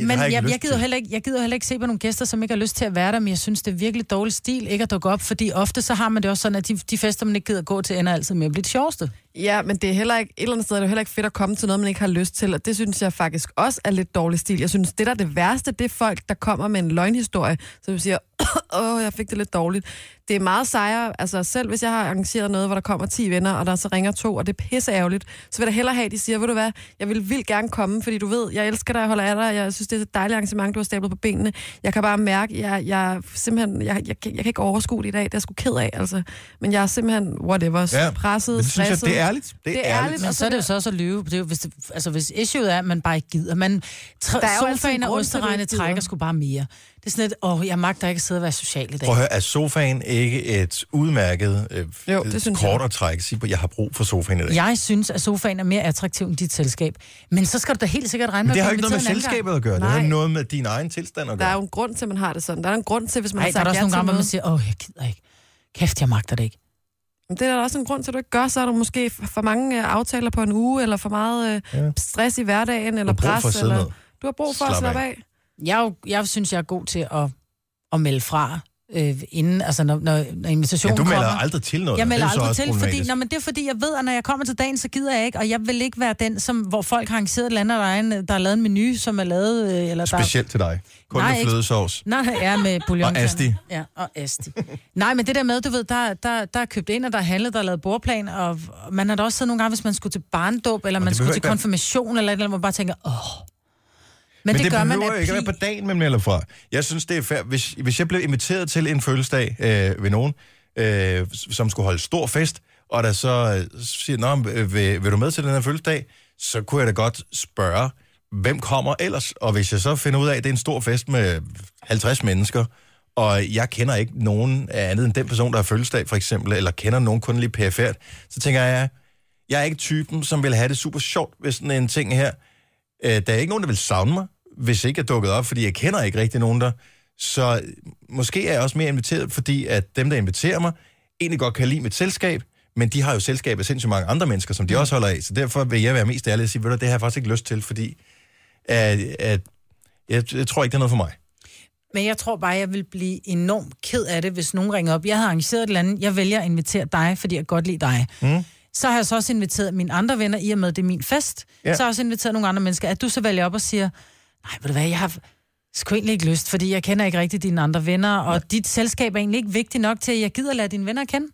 Speaker 1: det
Speaker 3: men
Speaker 1: har
Speaker 3: jeg,
Speaker 1: jeg ikke
Speaker 3: jeg,
Speaker 1: lyst
Speaker 3: gider
Speaker 1: til.
Speaker 3: heller ikke, jeg gider heller ikke se på nogle gæster, som ikke har lyst til at være der, men jeg synes, det er virkelig dårlig stil ikke at dukke op, fordi ofte så har man det også sådan, at de, de fester, man ikke gider gå til, ender altid med at blive det sjoveste.
Speaker 4: Ja, men det er heller ikke, et eller andet sted er det jo heller ikke fedt at komme til noget, man ikke har lyst til, og det synes jeg faktisk også er lidt dårlig stil. Jeg synes, det der er det værste, det er folk, der kommer med en løgnhistorie, så du siger, [COUGHS] åh, jeg fik det lidt dårligt. Det er meget sejere, altså selv hvis jeg har arrangeret noget, hvor der kommer 10 venner, og der så ringer to, og det er pisse ærgerligt, så vil jeg da hellere have, at de siger, ved du hvad, jeg vil vildt gerne komme, fordi du ved, jeg elsker dig, jeg holder af dig, jeg synes, det er et dejligt arrangement, du har stablet på benene. Jeg kan bare mærke, jeg, jeg simpelthen, jeg, jeg, jeg, kan ikke overskue det i dag, det er jeg sgu ked af, altså. Men jeg er simpelthen, whatever, ja, presset,
Speaker 1: men det synes jeg,
Speaker 4: stresset.
Speaker 1: det er ærligt. Det er,
Speaker 4: Det er ærligt.
Speaker 3: Men
Speaker 4: Og
Speaker 3: så er det jo så også at lyve. Det er jo, hvis, det, altså, hvis issueet er, at man bare ikke gider. Man
Speaker 4: Der er jo
Speaker 3: tr-
Speaker 4: altid en
Speaker 3: sofaen og
Speaker 4: grund til, at du
Speaker 3: osteregne
Speaker 4: ikke gider.
Speaker 3: trækker sgu bare mere. Det er sådan lidt, åh, jeg magter ikke at sidde og være social i dag.
Speaker 1: Prøv at høre, er sofaen ikke et udmærket øh,
Speaker 4: Jo, det synes jeg.
Speaker 1: kort at trække? Sig på, jeg har brug for sofaen i dag.
Speaker 3: Jeg synes, at sofaen er mere attraktiv end dit selskab. Men så skal du da helt sikkert regne
Speaker 1: Men
Speaker 3: med,
Speaker 1: det
Speaker 3: at
Speaker 1: har jo
Speaker 3: blive
Speaker 1: ikke noget med
Speaker 3: inviteret en anden gang.
Speaker 1: selskabet at gøre. Nej. Det
Speaker 4: Nej.
Speaker 1: har noget med din egen tilstand at
Speaker 4: Der
Speaker 1: gøre.
Speaker 4: er jo en grund til, at man har det sådan. Der er en grund til, hvis man
Speaker 3: Nej,
Speaker 4: har
Speaker 3: der er
Speaker 4: sagt
Speaker 3: der
Speaker 4: ja
Speaker 3: også nogle
Speaker 4: til
Speaker 3: gange, hvor man
Speaker 4: noget.
Speaker 3: siger, åh, jeg gider ikke. Kæft, jeg magter det ikke.
Speaker 4: Men Det er der også en grund til, at du ikke gør, så er der måske f- for mange øh, aftaler på en uge, eller for meget øh,
Speaker 1: Ja.
Speaker 4: stress i hverdagen, eller
Speaker 1: brug for at
Speaker 4: pres.
Speaker 1: sidde
Speaker 4: eller...
Speaker 1: ned.
Speaker 4: Du har brug for at
Speaker 1: Slap
Speaker 4: slappe
Speaker 1: af.
Speaker 4: af.
Speaker 3: jeg, er jo- jeg synes, jeg er god til at, at melde fra, øh, inden, altså når, når,
Speaker 1: Ja,
Speaker 3: når invitationen
Speaker 1: du melder
Speaker 3: kommer.
Speaker 1: aldrig til noget.
Speaker 3: Jeg
Speaker 1: og
Speaker 3: melder
Speaker 1: det er så
Speaker 3: aldrig
Speaker 1: også
Speaker 3: til, fordi,
Speaker 1: problematisk.
Speaker 3: nå, men det er fordi, jeg ved, at når jeg kommer til dagen, så gider jeg ikke, og jeg vil ikke være den, som, hvor folk har arrangeret et eller andet, og der er, en, der er lavet en menu, som er lavet... øh, Eller der,
Speaker 1: Specielt til dig. Kun
Speaker 3: Nej,
Speaker 1: med
Speaker 3: ikke-
Speaker 1: flødesovs.
Speaker 3: Nej, ja, med bouillon.
Speaker 1: Og Asti.
Speaker 3: Ja, og Asti. Nej, men det der med, du ved, der, der, der er købt ind, og der er handlet, der er lavet bordplan, og og man har da også siddet nogle gange, hvis man skulle til barndåb, eller man
Speaker 1: det
Speaker 3: skulle
Speaker 1: behøver
Speaker 3: til
Speaker 1: ikke være-
Speaker 3: konfirmation, eller et eller andet, hvor man bare tænker, åh. Men,
Speaker 1: Men, det,
Speaker 3: det, gør man
Speaker 1: behøver jo
Speaker 3: af
Speaker 1: ikke at
Speaker 3: pli.
Speaker 1: være på dagen, man melder fra. Jeg synes, det er fair. Hvis, hvis jeg blev inviteret til en fødselsdag øh, ved nogen, øh, s- som skulle holde stor fest, og der så øh, siger, Nå, men, øh, vil, vil du med til den her fødselsdag, så kunne jeg da godt spørge, hvem kommer ellers? Og hvis jeg så finder ud af, at det er en stor fest med 50 mennesker, og jeg kender ikke nogen andet end den person, der har fødselsdag, for eksempel, eller kender nogen kun lige perifært, så tænker jeg, jeg er ikke typen, som vil have det super sjovt ved sådan en ting her. Øh, der er ikke nogen, der vil savne mig, hvis ikke jeg dukkede op, fordi jeg kender ikke rigtig nogen der. Så øh, måske er jeg også mere inviteret, fordi at dem, der inviterer mig, egentlig godt kan lide mit selskab, men de har jo selskab af sindssygt mange andre mennesker, som de
Speaker 3: Mm.
Speaker 1: også holder af. Så derfor vil jeg være mest ærlig og sige, ved du, det har jeg faktisk ikke lyst til, fordi at, at jeg, jeg tror ikke, det er noget for mig.
Speaker 3: Men jeg tror bare, jeg vil blive enormt ked af det, hvis nogen ringer op. Jeg har arrangeret et eller andet. Jeg vælger at invitere dig, fordi jeg godt lide dig. Mm. Så har jeg så også inviteret mine andre venner, i og med at det er min fest.
Speaker 1: Ja.
Speaker 3: Ja. Så har jeg også inviteret nogle andre mennesker. At du så vælger op og siger, nej, ved du hvad, jeg har sgu egentlig ikke lyst, fordi jeg kender ikke rigtig dine andre venner, og dit selskab er egentlig ikke vigtigt nok til, at jeg gider lade dine venner kende.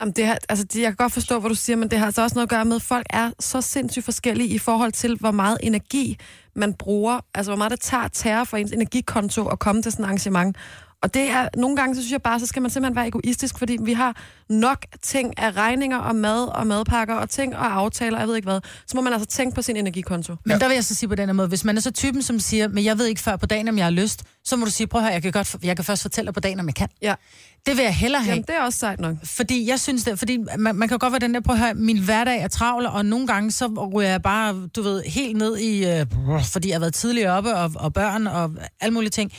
Speaker 4: Jamen, det her, altså, det, jeg kan godt forstå, hvad du siger, men det har altså også noget at gøre med, at folk er så sindssygt forskellige i forhold til, hvor meget energi man bruger, altså hvor meget det tager terror for ens energikonto at komme til sådan et arrangement. Og det er, nogle gange, så synes jeg bare, så skal man simpelthen være egoistisk, fordi vi har nok ting af regninger og mad og madpakker og ting og aftaler, jeg ved ikke hvad. Så må man altså tænke på sin energikonto.
Speaker 3: Men ja. der vil jeg så sige på den her måde, hvis man er så typen, som siger, men jeg ved ikke før på dagen, om jeg har lyst, så må du sige, prøv at høre, jeg kan, godt, jeg kan først fortælle dig på dagen, om jeg kan.
Speaker 4: Ja.
Speaker 3: Det vil jeg hellere have.
Speaker 4: Jamen, det er også sejt nok.
Speaker 3: Fordi jeg synes det, fordi man, man kan godt være den der, på at høre, min hverdag er travl, og nogle gange så ryger jeg bare, du ved, helt ned i, øh, fordi jeg har været tidligere oppe, og, og børn, og alle mulige ting.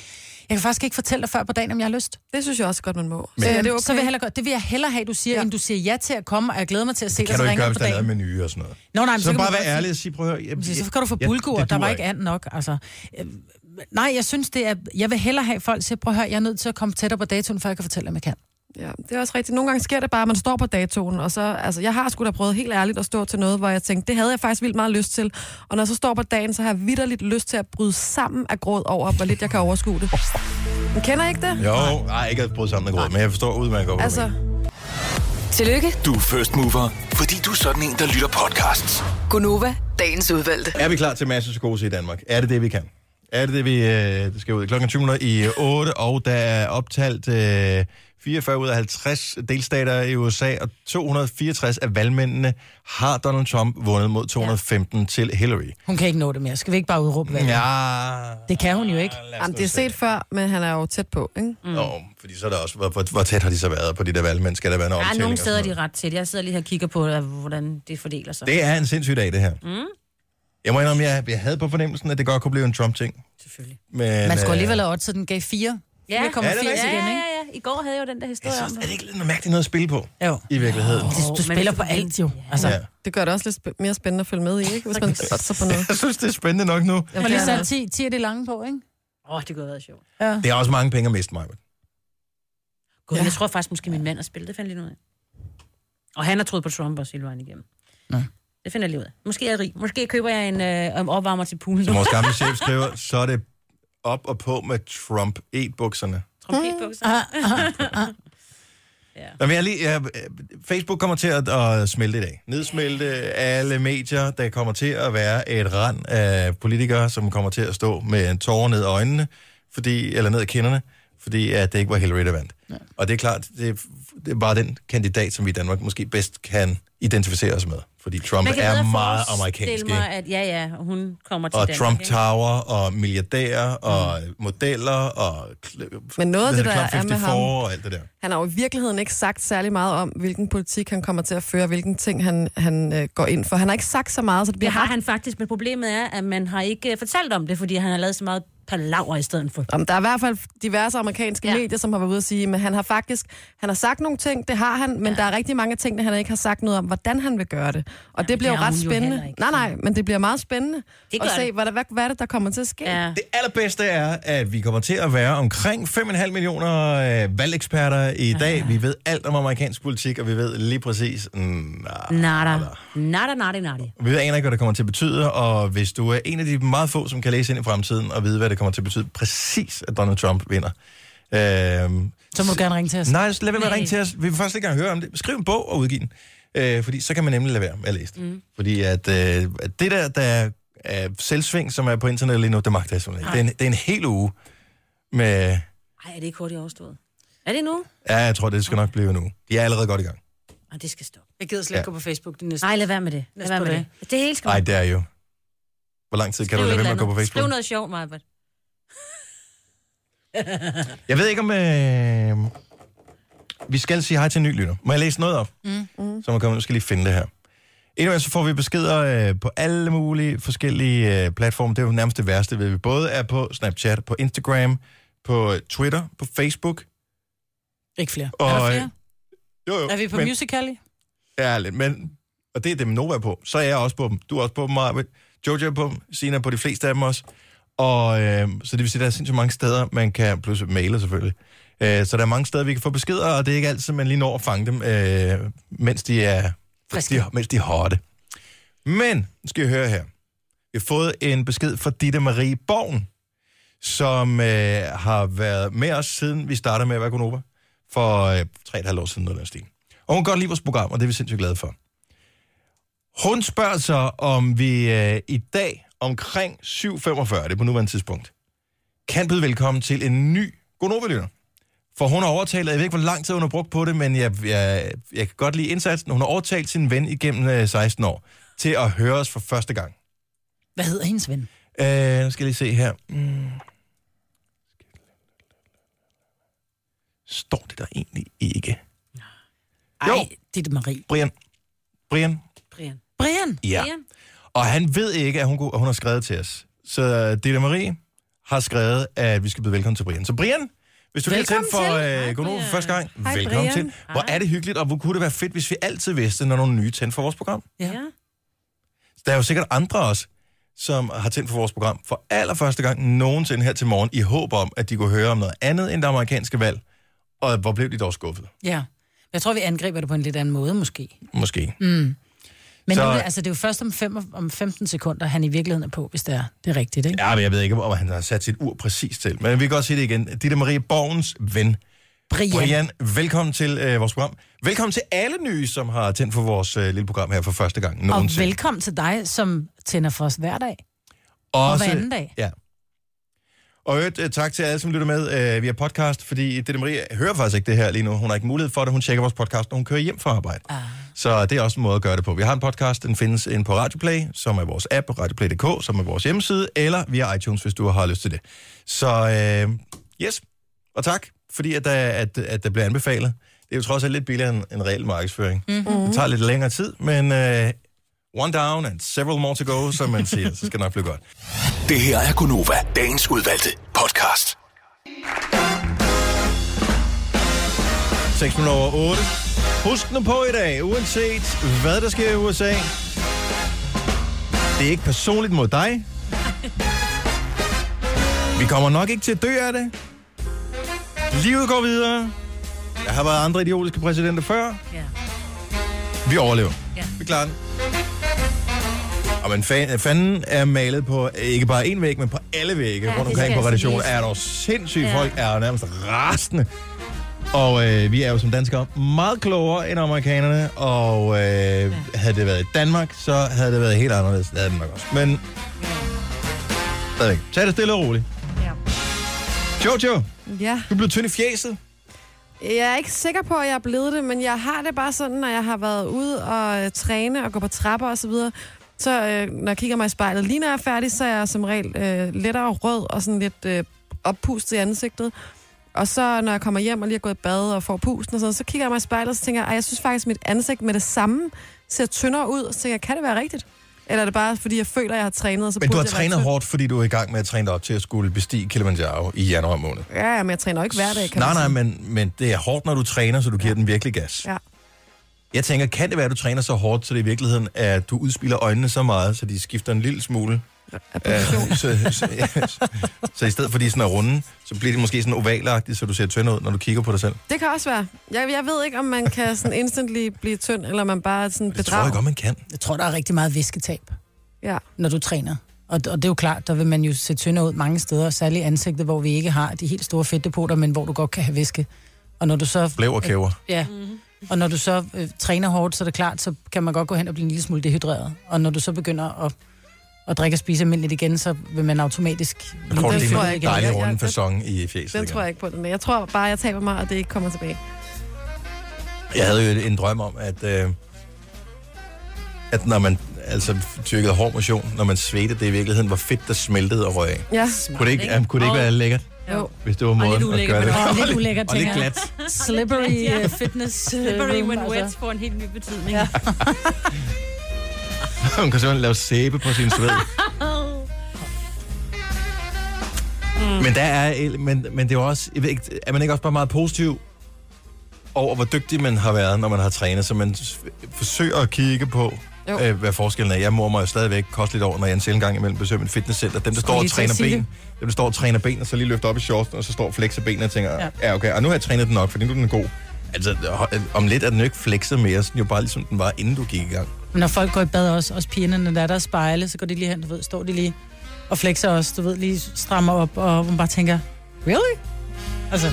Speaker 3: Jeg kan faktisk ikke fortælle dig før på dagen, om jeg har lyst.
Speaker 4: Det synes jeg også godt, man må.
Speaker 3: Men,
Speaker 4: er det
Speaker 3: okay? Så vil jeg hellere, godt- det vil jeg hellere have, du siger,
Speaker 4: Ja.
Speaker 3: ja. end du siger ja til at komme, og jeg glæder mig til at se
Speaker 1: kan
Speaker 3: dig,
Speaker 1: du
Speaker 3: så
Speaker 1: ikke
Speaker 3: ringer
Speaker 1: gøre,
Speaker 3: du
Speaker 1: hvis
Speaker 3: på
Speaker 1: der er lavet
Speaker 3: dagen.
Speaker 1: menu og sådan noget.
Speaker 3: Nå, nej, men
Speaker 1: Så,
Speaker 3: kan
Speaker 1: bare
Speaker 3: du
Speaker 1: være
Speaker 3: godt sige-
Speaker 1: ærlig og sige, prøv at høre... Jeg,
Speaker 3: Så kan du få
Speaker 1: jeg-
Speaker 3: bulgur,
Speaker 1: det
Speaker 3: der var
Speaker 1: duer
Speaker 3: ikke andet nok. Altså, øh, nej, jeg synes, det er... Jeg vil hellere have folk til at prøve at høre, jeg er nødt til at komme tættere på datoen, før jeg kan fortælle, om jeg kan.
Speaker 4: Ja, det er også rigtigt. Nogle gange sker det bare, at man står på datoen, og så, altså, jeg har sgu da prøvet helt ærligt at stå til noget, hvor jeg tænkte, det havde jeg faktisk vildt meget lyst til. Og når jeg så står på dagen, så har jeg vidderligt lyst til at bryde sammen af gråd over, hvor lidt jeg kan overskue det. Men kender I ikke det?
Speaker 1: Jo, nej, ikke at bruge sammen med gråd, men jeg forstår udmærket godt, hvad du
Speaker 4: Altså,
Speaker 1: mener.
Speaker 5: Tillykke,
Speaker 6: Du er first mover, fordi du er sådan en, der lytter podcasts.
Speaker 5: Gunova, dagens udvalgte.
Speaker 1: Er vi klar til masse psykose i Danmark? Er det det, vi kan? Er det det, vi øh, det skal ud? Klokken er 20 minutter i 8, og der er optalt øh, 44 ud af 50 delstater i USA, og 264 af valgmændene har Donald Trump vundet mod 215 ja. til Hillary.
Speaker 3: Hun kan ikke nå det mere. Skal vi ikke bare udråbe valget? Ja. Det kan hun jo ikke.
Speaker 4: jamen, det er set før, men han er jo tæt på, ikke?
Speaker 1: Mm. Nå, fordi så er der også, hvor, hvor, hvor tæt har de så været på de der valgmænd? Skal der være en
Speaker 2: Der er
Speaker 1: omtælling?
Speaker 2: nogle
Speaker 1: og sådan
Speaker 2: steder, de
Speaker 1: noget?
Speaker 2: er ret tæt. Jeg sidder lige her og kigger på, øh, hvordan det fordeler sig.
Speaker 1: Det er en sindssyg dag, det her. Mm. Jeg må indrømme, jeg, jeg havde på fornemmelsen, at det godt kunne blive en Trump-ting.
Speaker 2: Selvfølgelig.
Speaker 1: Men,
Speaker 3: Man skulle
Speaker 1: øh,
Speaker 3: alligevel have odds, så den gav 4.
Speaker 2: Ja, ja,
Speaker 1: Ja, det er
Speaker 3: 4,80 igen,
Speaker 1: rigtigt.
Speaker 2: ja,
Speaker 3: ikke?
Speaker 2: ja, ja. I går havde jeg jo den der
Speaker 1: Jeg
Speaker 2: historie om
Speaker 1: synes, er
Speaker 2: det.
Speaker 1: det ikke lidt noget mærkeligt noget at spille på?
Speaker 3: Jo.
Speaker 1: I virkeligheden.
Speaker 3: Du, du
Speaker 2: Åh, men
Speaker 3: spiller
Speaker 2: det
Speaker 3: på
Speaker 2: er fordi-
Speaker 3: alt jo. Altså,
Speaker 1: Ja.
Speaker 3: ja.
Speaker 4: Det gør det også lidt sp- mere spændende at følge med i, ikke?
Speaker 2: [LAUGHS]
Speaker 4: Hvis man satser på noget.
Speaker 1: Jeg synes, det er spændende nok nu.
Speaker 3: Man lige
Speaker 4: Jamen,
Speaker 3: sat 10, 10 er det lange på, ikke?
Speaker 2: Åh, oh, det kunne have været sjovt.
Speaker 1: Det er også mange penge at miste, mig.
Speaker 2: God,
Speaker 4: Ja.
Speaker 2: ja. Jeg tror faktisk, måske min mand har spillet. Det fandt jeg lige ud af. Og han har troet på Trump også hele vejen igennem.
Speaker 3: Nå.
Speaker 2: Det finder jeg lige ud af. Måske er jeg rig. Måske køber jeg en øh, opvarmer til poolen.
Speaker 1: Som vores gamle chef skriver, så er det op og på med trump et bukserne
Speaker 2: Trompetbukser.
Speaker 1: Nå, men jeg er lige, jeg, Facebook kommer til at, at smelte i dag. Nedsmelte alle medier. Der kommer til at være et rand af politikere, som kommer til at stå med en tårer ned i øjnene, fordi, eller ned i kinderne, fordi at det ikke var Hillary, der vandt. Ja. Og det er klart, det, er- det er bare den kandidat, som vi i Danmark måske bedst kan identificere os med. Fordi Trump er meget amerikansk.
Speaker 2: Det
Speaker 1: ikke?
Speaker 2: mig, at ja, ja, hun kommer til
Speaker 1: og
Speaker 2: Danmark.
Speaker 1: Trump
Speaker 2: ikke?
Speaker 1: Tower, og milliardærer, og modeller, og kl-
Speaker 4: Mm. Men noget af
Speaker 1: hvad
Speaker 4: det,
Speaker 1: hedder
Speaker 4: der
Speaker 1: Club
Speaker 4: er med
Speaker 1: 54
Speaker 4: ham-
Speaker 1: og alt det der.
Speaker 4: Han har jo i virkeligheden ikke sagt særlig meget om, hvilken politik han kommer til at føre, hvilken ting han, han øh, går ind for. Han har ikke sagt så meget, så det
Speaker 2: Det
Speaker 4: bliver
Speaker 2: har
Speaker 4: ret
Speaker 2: han faktisk, men problemet er, at man har ikke øh, fortalt om det, fordi han har lavet så meget palaver i stedet for.
Speaker 4: Jamen, der er i hvert fald diverse amerikanske ja.
Speaker 2: Ja.
Speaker 4: medier, som har været ude at sige, men han har faktisk han har sagt nogle ting, det har han, men ja. der er rigtig mange ting, han ikke har sagt noget om, hvordan han vil gøre det. Og ja, det
Speaker 2: men
Speaker 4: bliver
Speaker 2: det
Speaker 4: jo
Speaker 2: har
Speaker 4: ret
Speaker 2: hun jo
Speaker 4: spændende.
Speaker 2: heller ikke.
Speaker 4: nej, nej, men det bliver meget spændende
Speaker 2: Det
Speaker 4: at
Speaker 2: gør
Speaker 4: se,
Speaker 2: det.
Speaker 4: hvad, der, hvad, hvad er det, der kommer til at ske.
Speaker 2: Ja.
Speaker 1: Det allerbedste er, at vi kommer til at være omkring 5,5 millioner øh, valgeksperter i dag. Vi ved alt om amerikansk politik, og vi ved lige præcis... Mm, ah,
Speaker 2: Nada. Nada, nada, nada.
Speaker 1: vi aner ikke, hvad det kommer til at betyde, og hvis du er en af de meget få, som kan læse ind i fremtiden og vide, hvad det kommer til at betyde præcis, at Donald Trump vinder. Øhm,
Speaker 3: Så må du gerne ringe til os.
Speaker 1: Nej, altså, lad være med at
Speaker 2: Nej.
Speaker 1: ringe til os. Vi vil faktisk ikke engang høre om det. Skriv en bog og udgiv den. Øh, fordi så kan man nemlig lade være med at læse den. Mm. Fordi at, øh, at det der, der er selvsving, som er på internettet lige nu, det magter jeg simpelthen ikke. Det er, en, det er en hel uge med...
Speaker 2: Ej, er det ikke hurtigt overstået? Er det nu?
Speaker 1: Ja, jeg tror,
Speaker 2: Mm.
Speaker 1: det skal nok blive nu. De er allerede godt i gang.
Speaker 2: Ej, det skal stoppe.
Speaker 3: Jeg gider slet
Speaker 1: ikke
Speaker 3: gå på Facebook det næste.
Speaker 2: Nej, lad være med det. Lad
Speaker 3: Næste
Speaker 2: være med
Speaker 3: par
Speaker 2: det. Det hele skal
Speaker 1: Nej, det er jo... Hvor lang tid kan
Speaker 2: Skriv
Speaker 1: du
Speaker 2: et
Speaker 1: lade være med
Speaker 2: eller
Speaker 1: at gå på
Speaker 2: andet.
Speaker 1: Facebook?
Speaker 2: Skriv noget sjovt, Maja.
Speaker 1: Jeg ved ikke, om... Øh... Vi skal sige hej til en ny lytter. Må jeg læse noget op? Mm. Så man kommer, nu skal jeg lige finde det her. Endnu så får vi beskeder øh, på alle mulige forskellige øh, platforme. Det er jo nærmest det værste, ved vi både er på Snapchat, på Instagram, på øh, Twitter, på Facebook.
Speaker 3: Ikke flere.
Speaker 1: Og,
Speaker 3: er der
Speaker 1: øh,
Speaker 3: flere?
Speaker 1: Jo, jo.
Speaker 3: Er vi på
Speaker 1: men,
Speaker 3: Musical.ly?
Speaker 1: Ja, lidt, men... Og det er dem Nova er på. Så er jeg også på dem. Du er også på dem, Marvind. Jojo er på dem. Sina er på de fleste af dem også. Og øh, så det vil sige, at der er sindssygt mange steder, man kan, plus mailer selvfølgelig. Øh, så der er mange steder, vi kan få beskeder, og det er ikke altid, man lige når at fange dem, øh, mens de er
Speaker 3: Friske.
Speaker 1: De, mens de er hotte. Men, nu skal I høre her. Vi har fået en besked fra Ditte Marie Borgen, som øh, har været med os siden vi startede med at være Gunova, for øh, 3,5 år siden, noget af den stil. Og hun kan godt lide vores program, og det er vi sindssygt glade for. Hun spørger så, om vi øh, i dag omkring 7.45, det er på nuværende tidspunkt, kan byde velkommen til en ny gonova For hun har overtalt, og jeg ved ikke, hvor lang tid hun har brugt på det, men jeg, jeg, jeg kan godt lide indsatsen. Hun har overtalt sin ven igennem øh, 16 år til at høre os for første gang.
Speaker 3: Hvad hedder hendes ven?
Speaker 1: Øh, nu skal jeg lige se her. Mm. Står det der egentlig ikke?
Speaker 3: Ej,
Speaker 1: Jo.
Speaker 3: det er Marie.
Speaker 1: Brian. Brian.
Speaker 2: Brian.
Speaker 3: Brian,
Speaker 1: Ja.
Speaker 2: Brian.
Speaker 1: Og han ved ikke, at hun, kunne- at hun har skrevet til os. Så Dilla Marie har skrevet, at vi skal byde velkommen til Brian. Så Brian, hvis du lige tændt
Speaker 3: Velkommen
Speaker 1: for
Speaker 3: til.
Speaker 1: øh, Gonova for første gang,
Speaker 4: Hej,
Speaker 1: velkommen
Speaker 4: Brian.
Speaker 1: til. Hvor er det hyggeligt, og hvor kunne det være fedt, hvis vi altid vidste, når nogle nye tændte for vores program.
Speaker 3: Ja.
Speaker 2: Ja.
Speaker 1: Der er jo sikkert andre også, som har tændt for vores program for allerførste gang nogensinde her til morgen, i håb om, at de kunne høre om noget andet end det amerikanske valg. Og hvor blev de dog skuffet?
Speaker 3: ja. Jeg tror, vi angriber det på en lidt anden måde, måske.
Speaker 1: Måske.
Speaker 3: Men
Speaker 1: Så-
Speaker 3: så... nu, er det- altså, det er jo først om, fem, om 15 sekunder, han i virkeligheden er på, hvis det er, det er rigtigt, ikke?
Speaker 1: Ja, men jeg ved ikke, om han har sat sit ur præcis til. Men vi kan godt sige det igen. Ditte Marie Borgens ven,
Speaker 3: Brian.
Speaker 1: Brian, velkommen til øh, vores program. Velkommen til alle nye, som har tændt for vores øh, lille program her for første gang
Speaker 3: Og
Speaker 1: nogensinde.
Speaker 3: velkommen til dig, som tænder for os hver dag. hver anden dag.
Speaker 1: Ja. Og i øvrigt, øh, tak til alle, som lytter med øh, via podcast, fordi Ditte Marie hører faktisk ikke det her lige nu. Hun har ikke mulighed for det. Hun tjekker vores podcast, når hun kører hjem fra arbejde. Ah. Så det er også en måde at gøre det på. Vi har en podcast, den findes inde på Radioplay, som er vores app, radioplay.dk, som er vores hjemmeside, eller via iTunes, hvis du har lyst til det. Så øh, yes, og tak, fordi at der, at, at der bliver anbefalet. Det er jo trods alt lidt billigere end en reel markedsføring.
Speaker 3: Mhm.
Speaker 1: Mm-hmm. Det tager lidt længere tid, men øh, one down and several more to go, som man siger, så skal det nok blive godt.
Speaker 6: Det her er Gunova, dagens udvalgte podcast.
Speaker 1: 6 minutter over 8. Husk nu på i dag, uanset hvad der sker i USA. Det er ikke personligt mod dig. Vi kommer nok ikke til at dø af det. Livet går videre. Der har været andre idiotiske præsidenter før.
Speaker 2: Ja.
Speaker 1: Vi overlever.
Speaker 2: Ja.
Speaker 1: Vi klarer den. Og men fan, fanden er malet på øh, ikke bare en væg, men på alle vægge
Speaker 2: Ja,
Speaker 1: ja, rundt
Speaker 2: det
Speaker 1: omkring
Speaker 2: skal
Speaker 1: på
Speaker 2: jeg
Speaker 1: redaktionen.
Speaker 2: sige.
Speaker 1: Er der sindssygt ja.
Speaker 2: Ja.
Speaker 1: folk, er jo nærmest rasende. Og øh, vi er jo som danskere meget klogere end amerikanerne, og øh, ja. havde det været i Danmark, så havde det været helt anderledes. Det havde det nok også. Men stadigvæk. Tag det stille og roligt. Ja. Jojo,
Speaker 4: Ja.
Speaker 1: du blev tynd i fjeset.
Speaker 4: Jeg er ikke sikker på, at jeg er blevet det, men jeg har det bare sådan, når jeg har været ude og øh, træne og gå på trapper og så videre. Så øh, når jeg kigger mig i spejlet, lige når jeg er færdig, så er jeg som regel øh, lettere rød og sådan lidt øh, oppustet i ansigtet. Og så når jeg kommer hjem og lige har gået i bad og får pusten og sådan noget, så kigger jeg mig i spejlet, og så tænker jeg, "Ej, jeg synes faktisk, at mit ansigt med det samme ser tyndere ud. Og så tænker jeg, kan det være rigtigt? Eller er det bare, fordi jeg føler, at jeg har trænet? Og så
Speaker 1: Men du
Speaker 4: burde
Speaker 1: har
Speaker 4: jeg være
Speaker 1: trænet
Speaker 4: tynd?
Speaker 1: hårdt, fordi du er i gang med at træne dig op til at skulle bestige Kilimanjaro i januar måned.
Speaker 4: Ja, ja, men jeg træner jo ikke hver dag, kan
Speaker 1: Nej,
Speaker 4: man
Speaker 1: nej,
Speaker 4: sige.
Speaker 1: men, men det er hårdt, når du træner, så du giver den virkelig gas.
Speaker 4: Ja.
Speaker 1: Jeg tænker, kan det være, at du træner så hårdt, så det i virkeligheden er, at du udspiller øjnene så meget, så de skifter en lille smule? Ja, så, så, så, så i stedet for, at de sådan er runde, så bliver de måske sådan ovalagtige, så du ser tynd ud, når du kigger på dig selv.
Speaker 4: Det kan også være. Jeg, jeg ved ikke, om man kan sådan instantly blive tynd, eller man bare er sådan
Speaker 1: Det tror
Speaker 4: bedrag.
Speaker 1: jeg godt, man kan.
Speaker 3: Jeg tror, der er rigtig meget væsketab,
Speaker 4: Ja.
Speaker 3: når du træner. Og, og det er jo klart, der vil man jo se tyndere ud mange steder, særligt i ansigtet, hvor vi ikke har de helt store fedtdepoter, men hvor du godt kan have væske. Og når du så
Speaker 1: Blæv og kæver.
Speaker 3: Ja,
Speaker 2: Mhm.
Speaker 3: og når du så øh, træner hårdt, så er det klart, så kan man godt gå hen og blive en lille smule dehydreret. Og når du så begynder at, at drikke og spise almindeligt igen, så vil man automatisk...
Speaker 1: Så får du
Speaker 4: Den
Speaker 1: lige
Speaker 4: tror jeg
Speaker 1: en
Speaker 4: ikke.
Speaker 1: dejlig
Speaker 4: Jeg- jeg-
Speaker 1: runde
Speaker 4: den-
Speaker 1: fasong i fjeset.
Speaker 4: Den
Speaker 1: igen.
Speaker 4: tror jeg ikke på den der. Jeg tror bare, jeg taber mig, og det ikke kommer tilbage.
Speaker 1: Jeg havde jo en drøm om, at, øh, at når man altså, dyrkede hård motion, når man svedte, det i virkeligheden var fedt, der smeltede og røg af.
Speaker 4: Ja,
Speaker 1: Kunne det ikke, ja, kunne det ikke være lækkert,
Speaker 4: jo.
Speaker 1: hvis det var måden at
Speaker 2: ulækkert,
Speaker 1: gøre det?
Speaker 2: men
Speaker 3: Og lidt ulækkert,
Speaker 1: Og lidt
Speaker 3: tænker jeg.
Speaker 1: glat.
Speaker 3: Slippery øh, fitness. øh,
Speaker 2: Slippery
Speaker 3: room,
Speaker 2: when
Speaker 3: altså.
Speaker 2: wet får en helt ny betydning. Ja.
Speaker 1: [LAUGHS] Hun kan simpelthen lave sæbe på sin sved.
Speaker 3: Mm.
Speaker 1: Men, der er, men, men det er jo også, jeg ved ikke, er man ikke også bare meget positiv over, hvor dygtig man har været, når man har trænet, så man s- forsøger at kigge på,
Speaker 4: Jo.
Speaker 1: øh, hvad forskellen er. Jeg mor mig jo stadigvæk koste lidt over, når jeg en sjældent gang imellem besøger mit fitnesscenter. Dem, der står og
Speaker 3: lige til at
Speaker 1: træner
Speaker 3: sige
Speaker 1: ben, dem, der står og træner ben, og så lige løfter op i shortsen, og så står og flexer benene og tænker, ja. ja, okay, og nu har jeg trænet den nok, fordi nu er den god. Altså, ho- om lidt er den jo ikke flexet mere, sådan jo bare ligesom den var, inden du gik i gang.
Speaker 3: Men når folk går i bad også, også pigerne, når der er der spejle, så går de lige hen, du ved, står de lige og flexer også, du ved, lige strammer op, og man bare tænker, really? Altså,